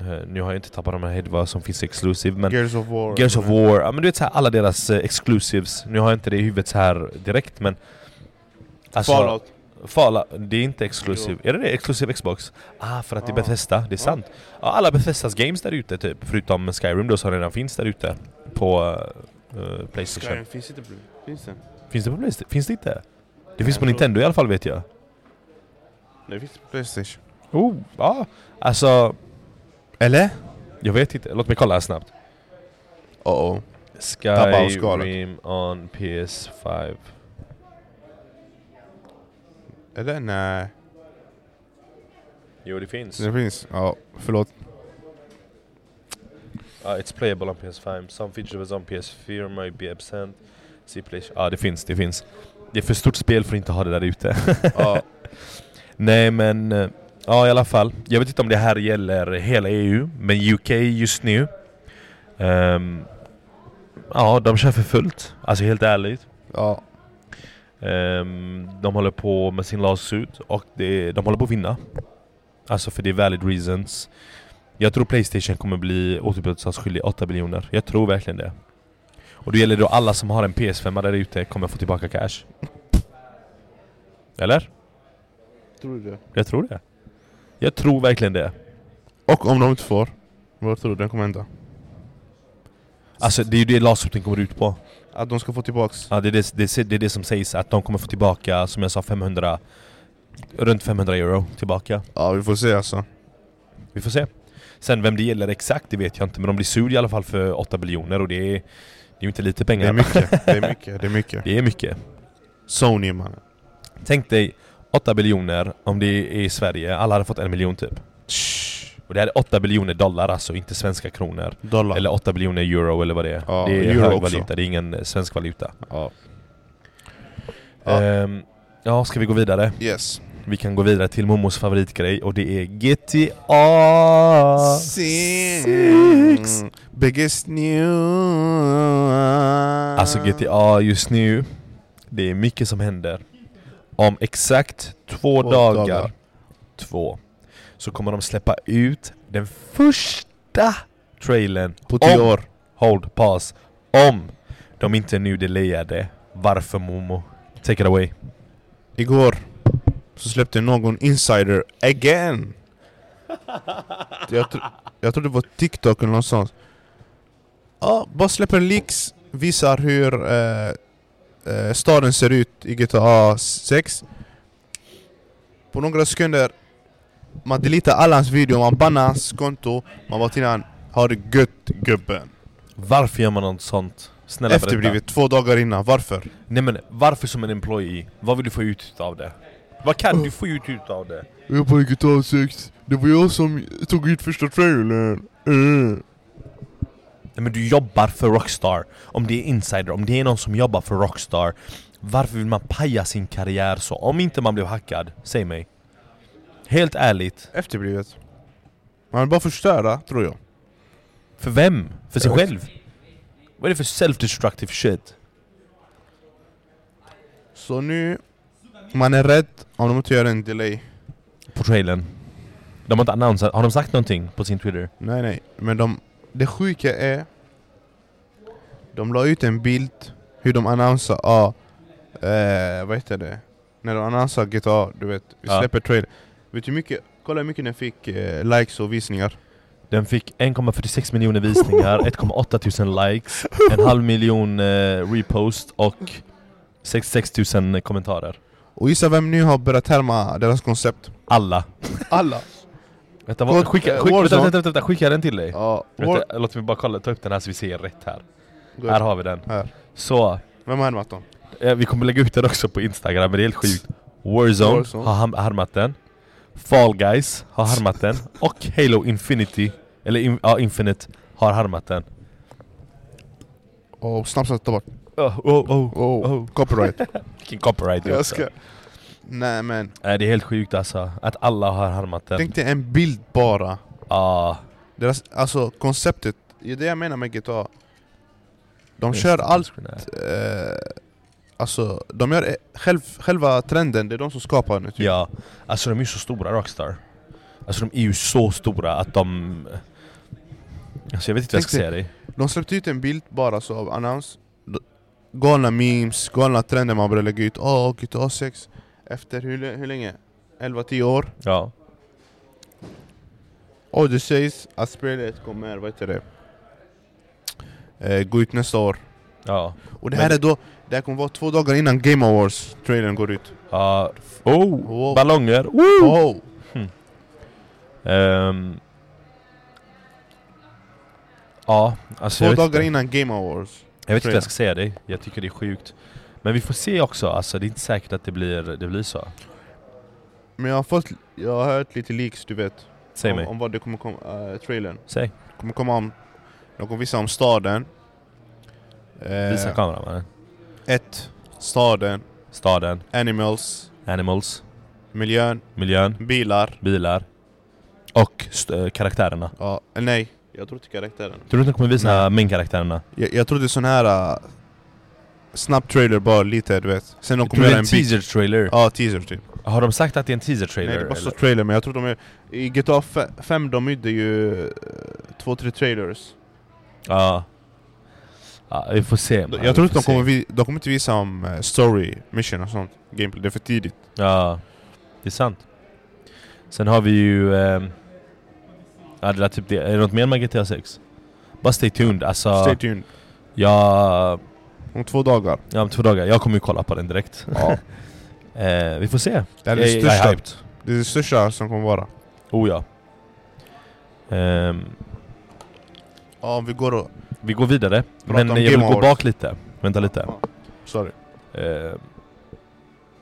eh, nu har jag inte tappat de här vad som finns exclusive men...
Gears of War.
Gears of War, ja men du vet så här, alla deras eh, exclusives. Nu har jag inte det i huvudet så här direkt men... Alltså,
Fallout.
Fallout, det är inte exklusiv. Är det det? Exklusiv Xbox? Ah, för att det är
Ah.
Bethesda, det är sant. Ja, alla Bethesdas games där ute typ, förutom Skyrim då som redan finns där ute på eh, eh, Playstation.
Skyrim finns inte bro. Finns det?
Finns det på Playstation? Finns det inte? Det finns
Jag
på
tror-
Nintendo i alla fall vet jag.
Nej, finns det.
Playstation.
Oh, ja. Alltså,
Eller?
jag vet inte. Låt mig kolla här snabbt.
Uh-oh. Tappa av skalet.
Skyrim on PS5.
Eller? Nej.
Jo, det finns.
Det finns. Ja, förlåt.
Ah, it's playable on PS5. Some features on PS4 might be absent. See PlayStation. Ja, ah, det finns, det finns. Det är för stort spel för att inte ha det där ute.
Ja.
Nej, men... eh, Ja, i alla fall. Jag vet inte om det här gäller hela EU, men UK just nu. ehm, ja, de kör för fullt. Alltså helt ärligt.
ja.
Ehm, de håller på med sin lawsuit och det, de håller på att vinna. Alltså för det är valid reasons. Jag tror Playstation kommer bli återbetalningsskyldig 8 biljoner. Jag tror verkligen det. Och det gäller då alla som har en PS5 där ute kommer få tillbaka cash. Eller?
Tror du det?
Jag tror det. Jag tror verkligen det.
Och om de inte får? Vad tror du den kommer hända?
Alltså det är ju det lawsuiten kommer ut på.
Att de ska få tillbaks?
Ja, det, är det, det, är- det är det som sägs, att de kommer få tillbaka, som jag sa, 500... Runt 500 euro tillbaka.
Ja, vi får se alltså.
Vi får se. Sen vem det gäller exakt, det vet jag inte. Men de blir sur i alla fall för 8 biljoner och det är, det är ju inte lite
Det är
pengar.
mycket. Det är mycket. Det är mycket.
Det är mycket.
Sony mannen.
Tänk dig 8 biljoner om det är i Sverige. Alla hade fått en miljon typ. Och det här är 8 biljoner dollar alltså, inte svenska kronor.
Dollar.
Eller 8 biljoner euro eller vad det är.
Ja,
det är
euro
hög
också.
valuta, det är ingen eh, svensk valuta.
Ja.
Ja.
Ja.
ja, ska vi gå vidare?
Yes.
Vi kan gå vidare till Momos favoritgrej och det är GTA!
Six. Mm. Biggest news.
Alltså GTA just nu, det är mycket som händer. Om exakt två,
Två
dagar,
dagar.
två, så kommer de släppa ut den första trailern
På tio
om,
år.
Hold, pass. Om de inte nu delayade, varför Momo? Take it away.
Igår så släppte någon insider again. Jag, tr- jag tror det var TikTok eller någonstans. Ja, bara släpper leaks, visar hur eh, eh, staden ser ut i GTA 6. På några sekunder, man deletar alla hans videor, man bannar hans konto, man bara till han har det gött gubben.
Varför gör man något sånt? Snälla berätta.
Efterblivet två dagar innan, varför?
Nej men varför som en employee? Vad vill du få ut av det? Vad kan du få ut utav det?
Jag är på GTA 6, det var jag som tog ut första trailern. Mm.
Nej, men du jobbar för Rockstar. Om det är insider, om det är någon som jobbar för Rockstar, varför vill man paja sin karriär så? Om inte man blev hackad, säg mig. Helt ärligt.
Efterblivet. Man vill bara förstöra, tror jag.
För vem? För sig
Jag vet.
själv? Vad är det för self-destructive shit?
Så nu, man är rädd om de inte gör en delay.
På trailern. De har inte annonsat. Har de sagt någonting på sin Twitter?
Nej, nej. Men de, det sjuka är... De la ut en bild hur de annonsar, ja... eh, vad heter det? När de annonsar GTA, du vet, vi
Ja.
släpper trailer. Vet du hur mycket, kolla hur mycket den fick eh, likes och visningar.
Den fick 1,46 miljoner visningar, 1,8 tusen likes, en halv miljon eh, repost och 66 tusen kommentarer.
Och gissa vem nu har börjat härma deras koncept?
Alla.
Alla!
Vänta, vad,
Gott,
skicka,
eh,
skicka, vänta,
Warzone.
vänta, vänta, skicka jag den till dig.
Ja, War-
Vänta, låt mig bara kolla, ta upp den här så vi ser rätt här.
Gott.
Här har vi den.
Här.
Så,
Vem har härmat dem?
eh, vi kommer lägga ut den också på Instagram, men det är helt sjukt. Warzone,
Warzone.
har ham- härmat den. Fall Guys har härmat den. Och Halo Infinity Eller in, ja, Infinite har harmat den.
Och snabbt ta bort.
Oh, oh, oh.
Oh, Copyright.
Vilken copyright det är
jag
också.
ska... Nej men,
Nej, Det är helt sjukt alltså, att alla har harmat den.
tänk dig en bild bara.
Ja,
Deras, alltså konceptet, det är det jag menar med GTA. De
just
kör
det.
allt Eh, alltså, de gör eh, själv, själva trenden, det är de som skapar nu. Typ.
Ja, alltså de är ju så stora Rockstar. Alltså de är ju så stora att de... Alltså jag vet inte vad jag ska säga
Tänk
dig.
De släppte ut en bild bara så av annons. D- Galna memes, galna trender man började lägga ut. Åh, GTA 6. Efter hur, l- hur länge? 11-10 år.
Ja.
Och det sägs att spelet kommer, vad heter det? Eh, gå ut nästa år.
Ja.
Och det här är då, det här kommer vara två dagar innan Game Awards trailern går ut.
ja. Oh!
Wow.
Ballonger! Woo!
Oh.
Ehm. ja, alltså
Två
jag vet,
dagar
inte.
innan Game Awards.
jag vet inte vad jag ska säga dig. Jag tycker det är sjukt. Men vi får se också, alltså det är inte säkert att det blir, det blir så.
Men jag har fått, jag har hört lite leaks du vet.
Säg
om,
mig.
om vad det kommer komma, eh, trailern.
Säg.
kommer komma om, de kommer visa om staden.
Visa
Eh,
kameran.
ett, staden,
Staden,
animals,
animals,
miljön,
miljön,
bilar.
bilar och st- eh, karaktärerna.
Ja, eh, nej, jag tror inte karaktären.
Tror du inte de kommer visa min karaktärerna?
Jag, jag tror det är sån här uh, snabb trailer bara lite du vet. Sen de
Tror
kommer
det
göra
är
en
en
bit.
teaser trailer?
Ja, teaser typ.
Har de sagt att det är en teaser trailer?
Nej, det bara står
eller?
trailer men jag tror de är... I GTA 5 de gjorde ju eh, två, tre trailers.
Ja. ja, vi får se. man.
jag
Vi
tror inte
får
de kommer,
se.
vi, de kommer inte visa om eh, story, mission och sånt. Gameplay, det är för tidigt.
Ja, det är sant. Sen har vi ju... ehm, ja, det där typ det. Är det något mer med GTA 6? Bara stay tuned. Alltså,
Stay tuned.
jag,
Om två dagar.
ja, om två dagar. Jag kommer ju kolla på den direkt. eh, vi får se.
Det
Jag-
är det
jag är
största,
hyped.
det är det största som kommer vara.
Oh ja. Ehm,
Ja, om vi går och...
vi går vidare.
Prata
men
om
jag vill
Game
gå
Awards.
bak lite. Vänta lite.
Sorry.
Eh,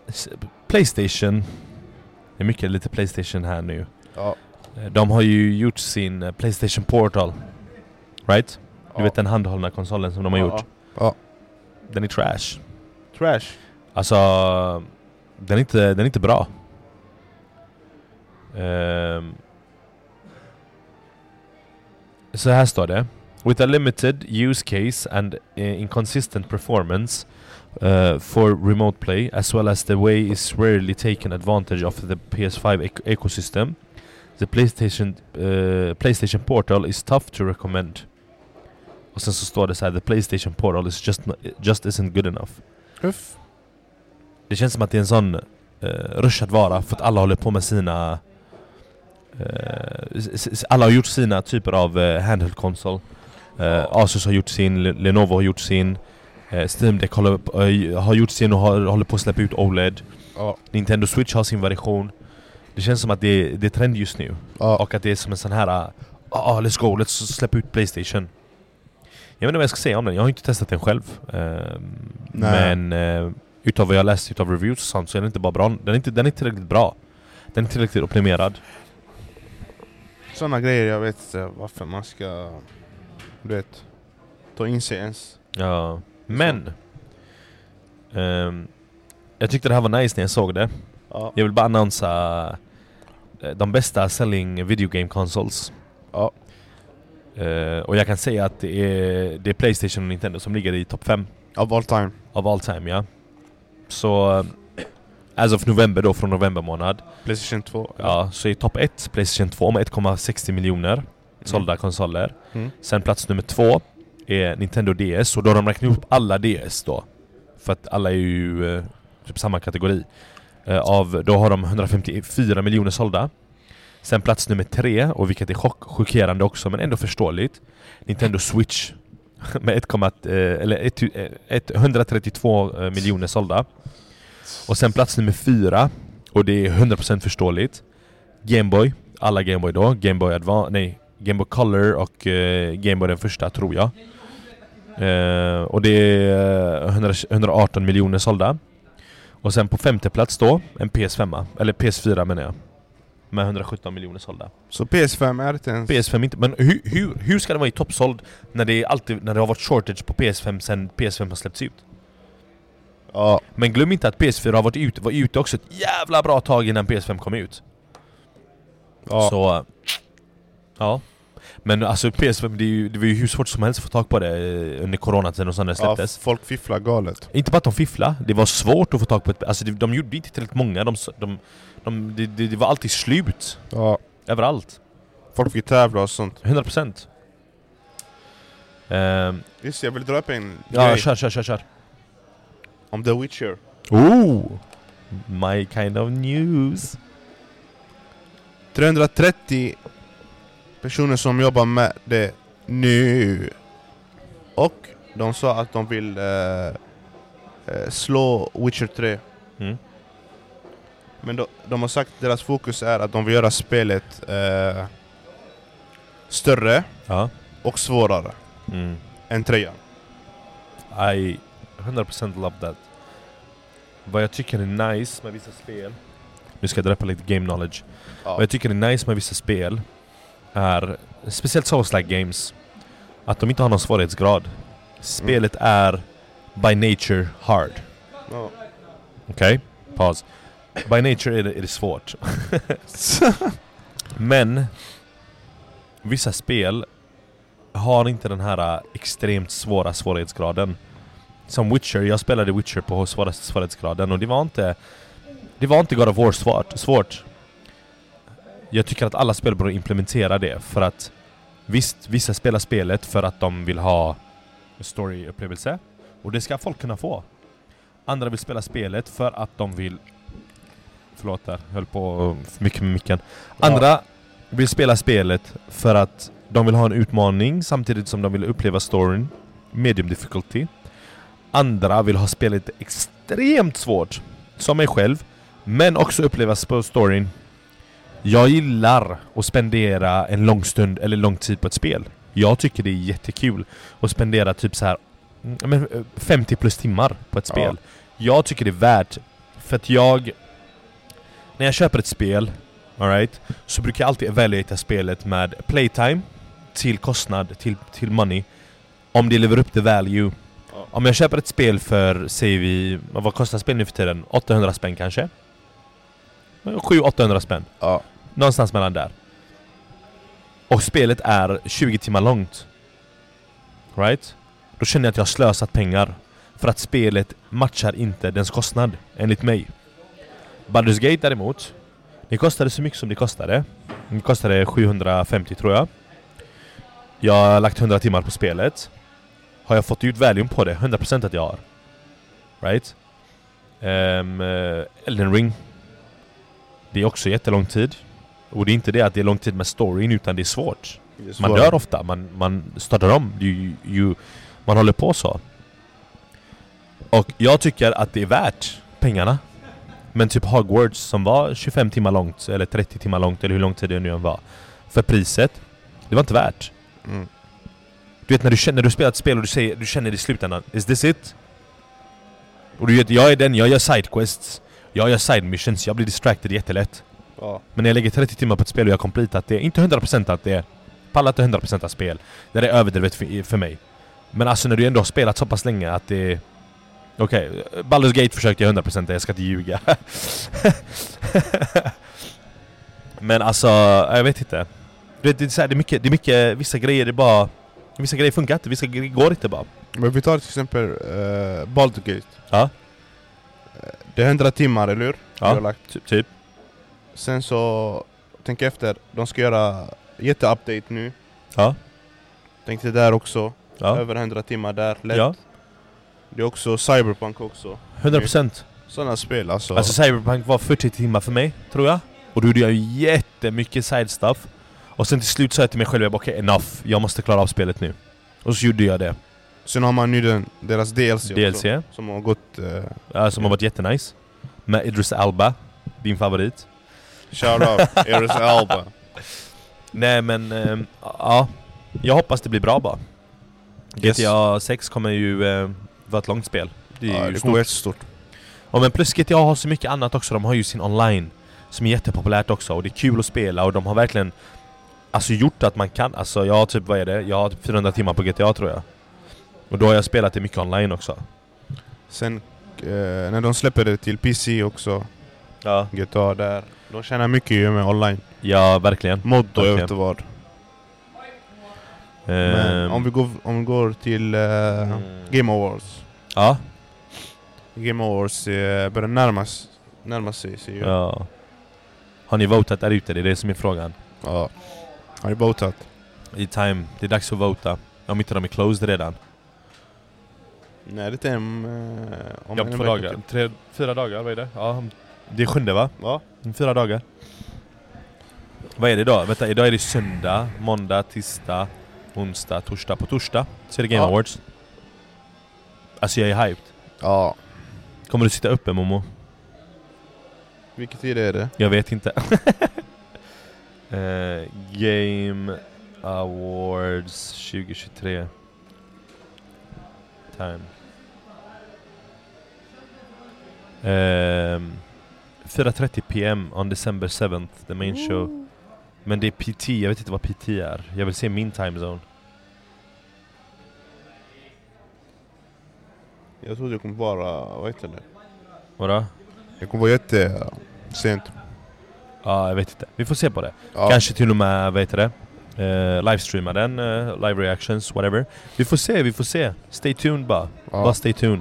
s- Playstation. Det är mycket lite Playstation här nu.
Ja.
Eh, De har ju gjort sin eh, Playstation Portal. Right? Du
Ja.
vet den handhållna konsolen som de har gjort.
Ja.
Den är trash.
Trash.
Alltså, den är inte, den är inte bra. Ehm. så här står det. With a limited use case and eh, inconsistent performance uh, for remote play as well as the way is rarely taken advantage of the PS5 ec- ecosystem the PlayStation, eh, PlayStation Portal is tough to recommend. Och sen så står det så här, the PlayStation Portal is just, no- just isn't good enough.
Huff.
Det känns som att det är en sån uh, rushad vara för att alla håller på med sina... eh, s- s- s- alla har gjort sina typer av uh, handheld konsol. Eh, Asus har gjort sin, Le- Lenovo har gjort sin, uh, Steam Deck håller, på- eh, har gjort sin och har, håller på att släppa ut OLED.
Ja.
Nintendo Switch har sin version. Det känns som att det är, det är trend just nu.
Ja.
Och att det är som en sån här... ah, ah, let's go, let's släppa ut Playstation. Jag vet inte vad jag ska säga om den, jag har inte testat den själv. Ehm,
Nej.
men eh, utav vad jag läst utav reviews och sånt så är den inte bara bra. Den är inte, den är inte tillräckligt bra. Den är inte tillräckligt optimerad.
Såna grejer, jag vet inte varför man ska... Du vet. Ta in sig ens.
Ja. Men! ehm, jag tyckte det här var nice när jag såg det.
Ja.
Jag vill bara annonsa eh, de bästa selling video game consoles.
Ja.
Eh, och jag kan säga att det är, det är Playstation och Nintendo som ligger i topp 5
Of all time.
av all time, ja. Så... eh, As of november då, från november månad.
Playstation 2.
Ja, så i topp 1, Playstation 2 med 1,60 miljoner sålda konsoler.
Mm.
Sen plats nummer två är Nintendo DS och då har de räknat ihop alla DS då. För att alla är ju eh, typ samma kategori. Eh, av, då har de 154 miljoner sålda. Sen plats nummer tre, och vilket är chock, chockerande också men ändå förståeligt. Nintendo Switch med 1, eh, eller 1, eh, 1, 132 eh, miljoner sålda. Och sen plats nummer fyra, och det är 100% förståeligt. Gameboy, alla Gameboy då. Gameboy Advance, nej, Gameboy Color och eh, Gameboy den första tror jag. Eh, och det är eh, 100, 118 miljoner sålda. Och sen på femte plats då, en PS5, eller PS4 menar jag. med 117 miljoner sålda.
Så PS5 är inte ens...
PS5 inte, men hur, hur, hur ska den vara i toppsåld när det, är alltid, när det har varit shortage på PS5 sen PS5 har släppts ut?
Ja.
Men glöm inte att PS4 har varit ute, var ute också ett jävla bra tag innan PS5 kom ut.
ja.
Så... äh, Ja. Men alltså PS5, det, är ju, det var ju hur svårt som helst att få tag på det eh, under coronatiden och sen när det
ja,
släpptes.
folk fifflar galet.
Inte bara att de fifflade, det var svårt att få tag på ett... Alltså det, de gjorde inte tillräckligt många, de, s- de, de, det, det, det var alltid slut.
Ja.
Överallt.
Folk fick tävla och sånt.
100%. Ehm,
Just det, jag vill dra upp en
ja,
grej
kör, kör, kör, kör.
om The Witcher.
Oh! My kind of news.
330 personer som jobbar med det nu. Och de sa att de vill eh, eh, slå Witcher 3.
Mm.
Men de, de har sagt att deras fokus är att de vill göra spelet eh, större
Ja.
och svårare
Mm.
än trean.
I 100% love that. Vad jag tycker är nice med vissa spel... Nu ska jag dräppa lite game knowledge.
Ja.
Vad jag tycker är nice med vissa spel är, speciellt Souls-like games, att de inte har någon svårighetsgrad. Spelet är by nature hard.
Ja.
Okej? Paus. By nature är det, är det svårt. Men vissa spel har inte den här äh, extremt svåra svårighetsgraden. Som Witcher, jag spelade Witcher på svåraste svårighetsgraden och det var inte... Det var inte God of War svårt. svårt. Jag tycker att alla spel borde implementera det för att visst, vissa spelar spelet för att de vill ha en storyupplevelse och det ska folk kunna få. Andra vill spela spelet för att de vill... Förlåt där, höll på för mycket med micken. Andra vill spela spelet för att de vill ha en utmaning samtidigt som de vill uppleva storyn. Medium difficulty. Andra vill ha spelet extremt svårt, som mig själv, men också uppleva sp- storyn. Jag gillar att spendera en lång stund eller lång tid på ett spel. Jag tycker det är jättekul att spendera typ så här mm, men, eh, 50 plus timmar på ett
Ja.
spel. Jag tycker det är värt, för att jag... När jag köper ett spel, alright, så brukar jag alltid evaluata spelet med playtime, till kostnad, till, till money. Om det lever upp till value. Om jag köper ett spel för, säger vi, vad kostar spel nu för tiden? 800 spänn kanske? 700-800 spänn.
Ja.
Någonstans mellan där. Och spelet är 20 timmar långt. Right? Då känner jag att jag har slösat pengar. För att spelet matchar inte dens kostnad, enligt mig. Baldur's Gate däremot, det kostade så mycket som det kostade. Det kostade 750 tror jag. Jag har lagt 100 timmar på spelet. Har jag fått ut value på det? 100% att jag har. Right? Ehm, eh, Elden Ring. Det är också jättelång tid. Och det är inte det att det är lång tid med storyn, utan det är svårt.
Det är
Man
svårare.
dör ofta, man, man startar om, you, you, man håller på så. Och jag tycker att det är värt pengarna. Men typ Hogwarts som var 25 timmar långt, eller 30 timmar långt, eller hur lång tid det nu än var. För priset, det var inte värt.
Mm.
Du vet när du känner, när du spelar ett spel och du, säger, du känner i slutändan Is this it? Och du vet, jag är den, jag gör sidequests Jag gör side missions, jag blir distracted jättelätt
Ja.
Men när jag lägger 30 timmar på ett spel och jag har completat det, inte 100% att det Pallar inte 100% av spel Det där är överdrivet för, för mig Men alltså när du ändå har spelat så pass länge att det Okej, Baldur's Gate försökte jag 100% det, jag ska inte ljuga Men alltså, jag vet inte Du vet, det, är så här, det, är mycket, det är mycket, vissa grejer det är bara Vissa grejer funkar inte, vissa grejer går inte bara.
Men vi tar till exempel eh, Baldur's Gate.
Ja.
Eh, Det är 100 timmar, eller hur?
Ja.
Du har lagt.
Typ. typ.
Sen så, tänk efter, de ska göra jätteupdate nu.
Ja.
Tänkte där också,
Ja.
över 100 timmar där, lätt.
ja.
Det är också Cyberpunk också.
100 procent.
Sådana spel alltså.
Alltså Cyberpunk var 40 timmar för mig, tror jag. Och då gjorde jag jättemycket side stuff. Och sen till slut sa jag till mig själv, jag bara, okej enough, jag måste klara av spelet nu. Och så gjorde jag det.
Sen har man nu den, deras DLC,
DLC,
också. Som har gått... Uh,
eh, som har varit jättenice. Med Idris Alba, din favorit.
Shoutout, Eris Alba.
Nej men, ehm, ja. Jag hoppas det blir bra bara.
Yes.
GTA 6 kommer ju eh, vara ett långt spel. Det är
Ja,
ju
det
stort.
kommer jättestort.
Ja men plus GTA har så mycket annat också, de har ju sin online Som är jättepopulärt också och det är kul att spela och de har verkligen Alltså gjort att man kan, alltså jag har typ, vad är det? Jag har typ 400 timmar på GTA tror jag Och då har jag spelat det mycket online också
Sen eh, när de släpper det till PC också,
Ja,
GTA där. De tjänar mycket ju med online.
ja verkligen
Mod och jag
Verkligen.
vet inte vad. Men
Ehm,
om vi går, om vi går till eh,
Mm.
Game Awards.
Ja,
Game Awards eh, börjar närmas, närma sig. sig ju.
ja Har ni votat där ute? Det är det som är frågan
Ja. Har ni votat?
I time, det är dags att vota Om inte de är closed redan
Nej, det är om, eh, om
Ja, om två
vecka
dagar.
till.
Tre, fyra dagar, vad är det? Ja, om- det är sjunde va?
Ja.
Om Mm, Fyra dagar. Vad är det idag? Vänta, idag är det söndag, måndag, tisdag, onsdag, torsdag. På torsdag så är det Game
Ja.
Awards. Alltså jag är hyped.
Ja.
Kommer du sitta uppe Momo?
Vilken tid är det?
Jag vet inte. Eh, Game Awards 2023. Time. Ehm, 4.30 PM on December 7th, the main show. Men det är PT, jag vet inte vad PT är. Jag vill se min time zone.
Jag trodde det kommer vara, vad heter det?
Vadå?
Det kommer vara jätte... eh, sent.
Ja, jag vet inte. Vi får se på det.
Ja.
Kanske till och med, vad heter det? Eh, livestreama den, eh, live reactions, whatever. Vi får se, vi får se. Stay tuned bara. Bara
Ja.
stay tuned.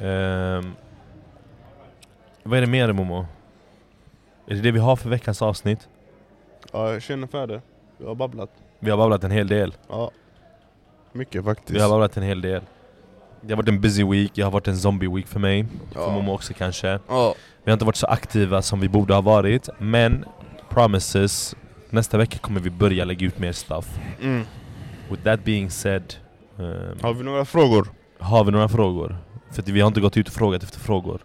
Ehm, vad är det mer Momo? Är det det vi har för veckans avsnitt?
ja, jag känner för det. Jag har babblat.
Vi har babblat en hel del.
Ja. Mycket faktiskt.
Vi har babblat en hel del. Det har varit en busy week, det har varit en zombie week för mig. För Momo
ja.
också kanske.
ja.
Vi har inte varit så aktiva som vi borde ha varit, men promises. Nästa vecka kommer vi börja lägga ut mer stuff.
Mm.
With that being said, ehm,
Har vi några frågor?
har vi några frågor? För att vi har inte gått ut och frågat efter frågor.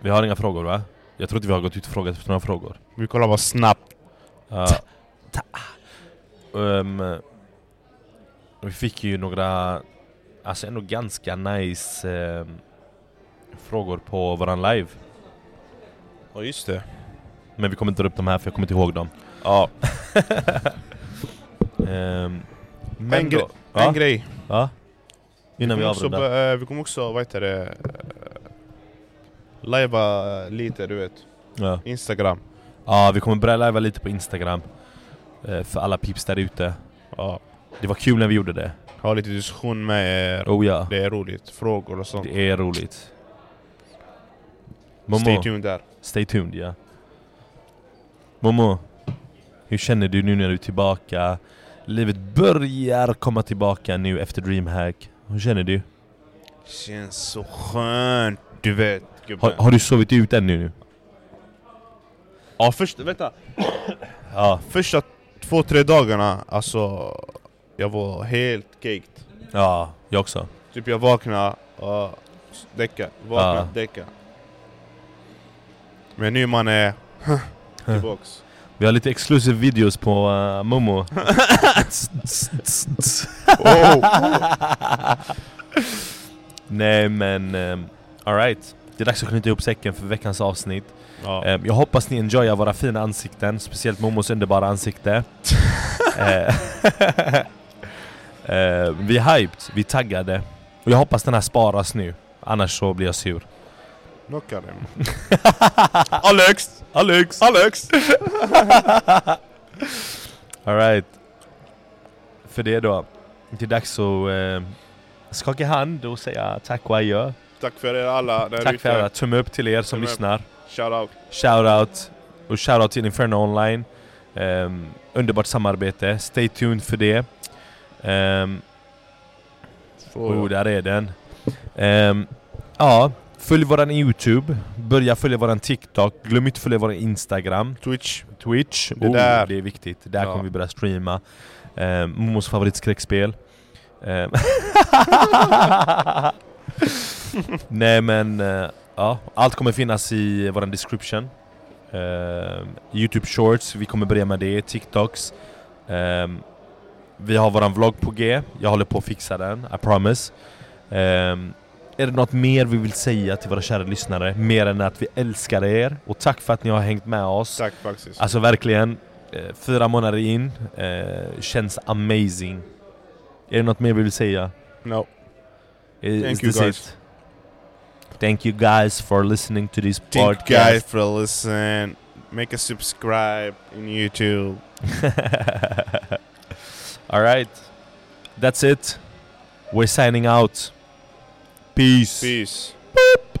Vi har inga frågor va? Jag tror inte vi har gått ut och frågat efter några frågor.
Vi kollar bara snabbt.
Ja. Ehm, vi fick ju några, alltså ändå ganska nice ehm, frågor på våran live.
Ja, just det.
Men vi kommer inte dra upp de här för jag kommer inte ihåg dem.
Ja.
Ehm, men
En gre-
då,
En
ja,
grej.
ja, innan vi
kommer också
avrundar.
bör- eh, vi kommer också, vad heter det, eh, lajva eh, lite du vet,
Ja.
Instagram.
Ja, vi kommer börja lajva lite på Instagram eh, För alla pips där ute
Ja.
Det var kul när vi gjorde det
Ha lite diskussion med er.
Oh ja,
Det är roligt, frågor och sånt.
det är roligt Momo,
Stay tuned där.
stay tuned ja Momo Hur känner du nu när du är tillbaka? Livet börjar komma tillbaka nu efter DreamHack Hur känner du?
Känns så skönt, du vet
Har, har du sovit ut ännu nu?
Ja, först, vänta.
Ja,
Första två, tre dagarna, alltså, jag var helt caked.
ja, jag också
Typ jag vaknade och s- däckade, vaknade,
Ja.
däckade. Men nu man är tillbaks.
Vi har lite exclusive videos på eh, Momo
Oh.
Nej men, um, alright. Det är dags att knyta ihop säcken för veckans avsnitt.
Ja.
Ehm, jag hoppas ni enjoyar våra fina ansikten, speciellt Momos underbara ansikte. Eh, eh, vi är hyped, vi är taggade. Och jag hoppas den här sparas nu, annars så blir jag sur.
Knocka dem.
Alex! Alex! Alex! Alright. För det då. Det är dags att eh, skaka hand och säga tack och adjö.
Tack för er alla där
Tack
ute.
för alla, tumme upp till er som
Tumme upp.
lyssnar.
Shoutout.
Shoutout och shoutout till Inferno Online. Ehm, underbart samarbete, stay tuned för det. Ehm, oh, där är den. Ehm, ja, följ våran YouTube, börja följa våran TikTok, glöm inte följa våran Instagram,
Twitch.
Twitch.
Det där.
Oh, det är viktigt, där
Ja.
kommer vi börja streama. Ehm, Momos favoritskräckspel. Ehm, Nej men, eh, ja. Allt kommer finnas i vår description. Ehm, Youtube shorts, vi kommer börja med det. TikToks. Ehm, vi har våran vlogg på G. Jag håller på att fixa den, I promise. Ehm, Är det något mer vi vill säga till våra kära lyssnare? Mer än att vi älskar er och tack för att ni har hängt med oss.
Tack faktiskt.
Alltså verkligen, eh, fyra månader in eh, känns amazing. Är det något mer vi vill säga? Eh,
No.
Is
Thank you
this
guys.
it? Thank you guys for listening to this
Thank you
podcast.
guys for listening. Make a subscribe in YouTube.
All right. That's it. We're signing out. Peace.
Peace.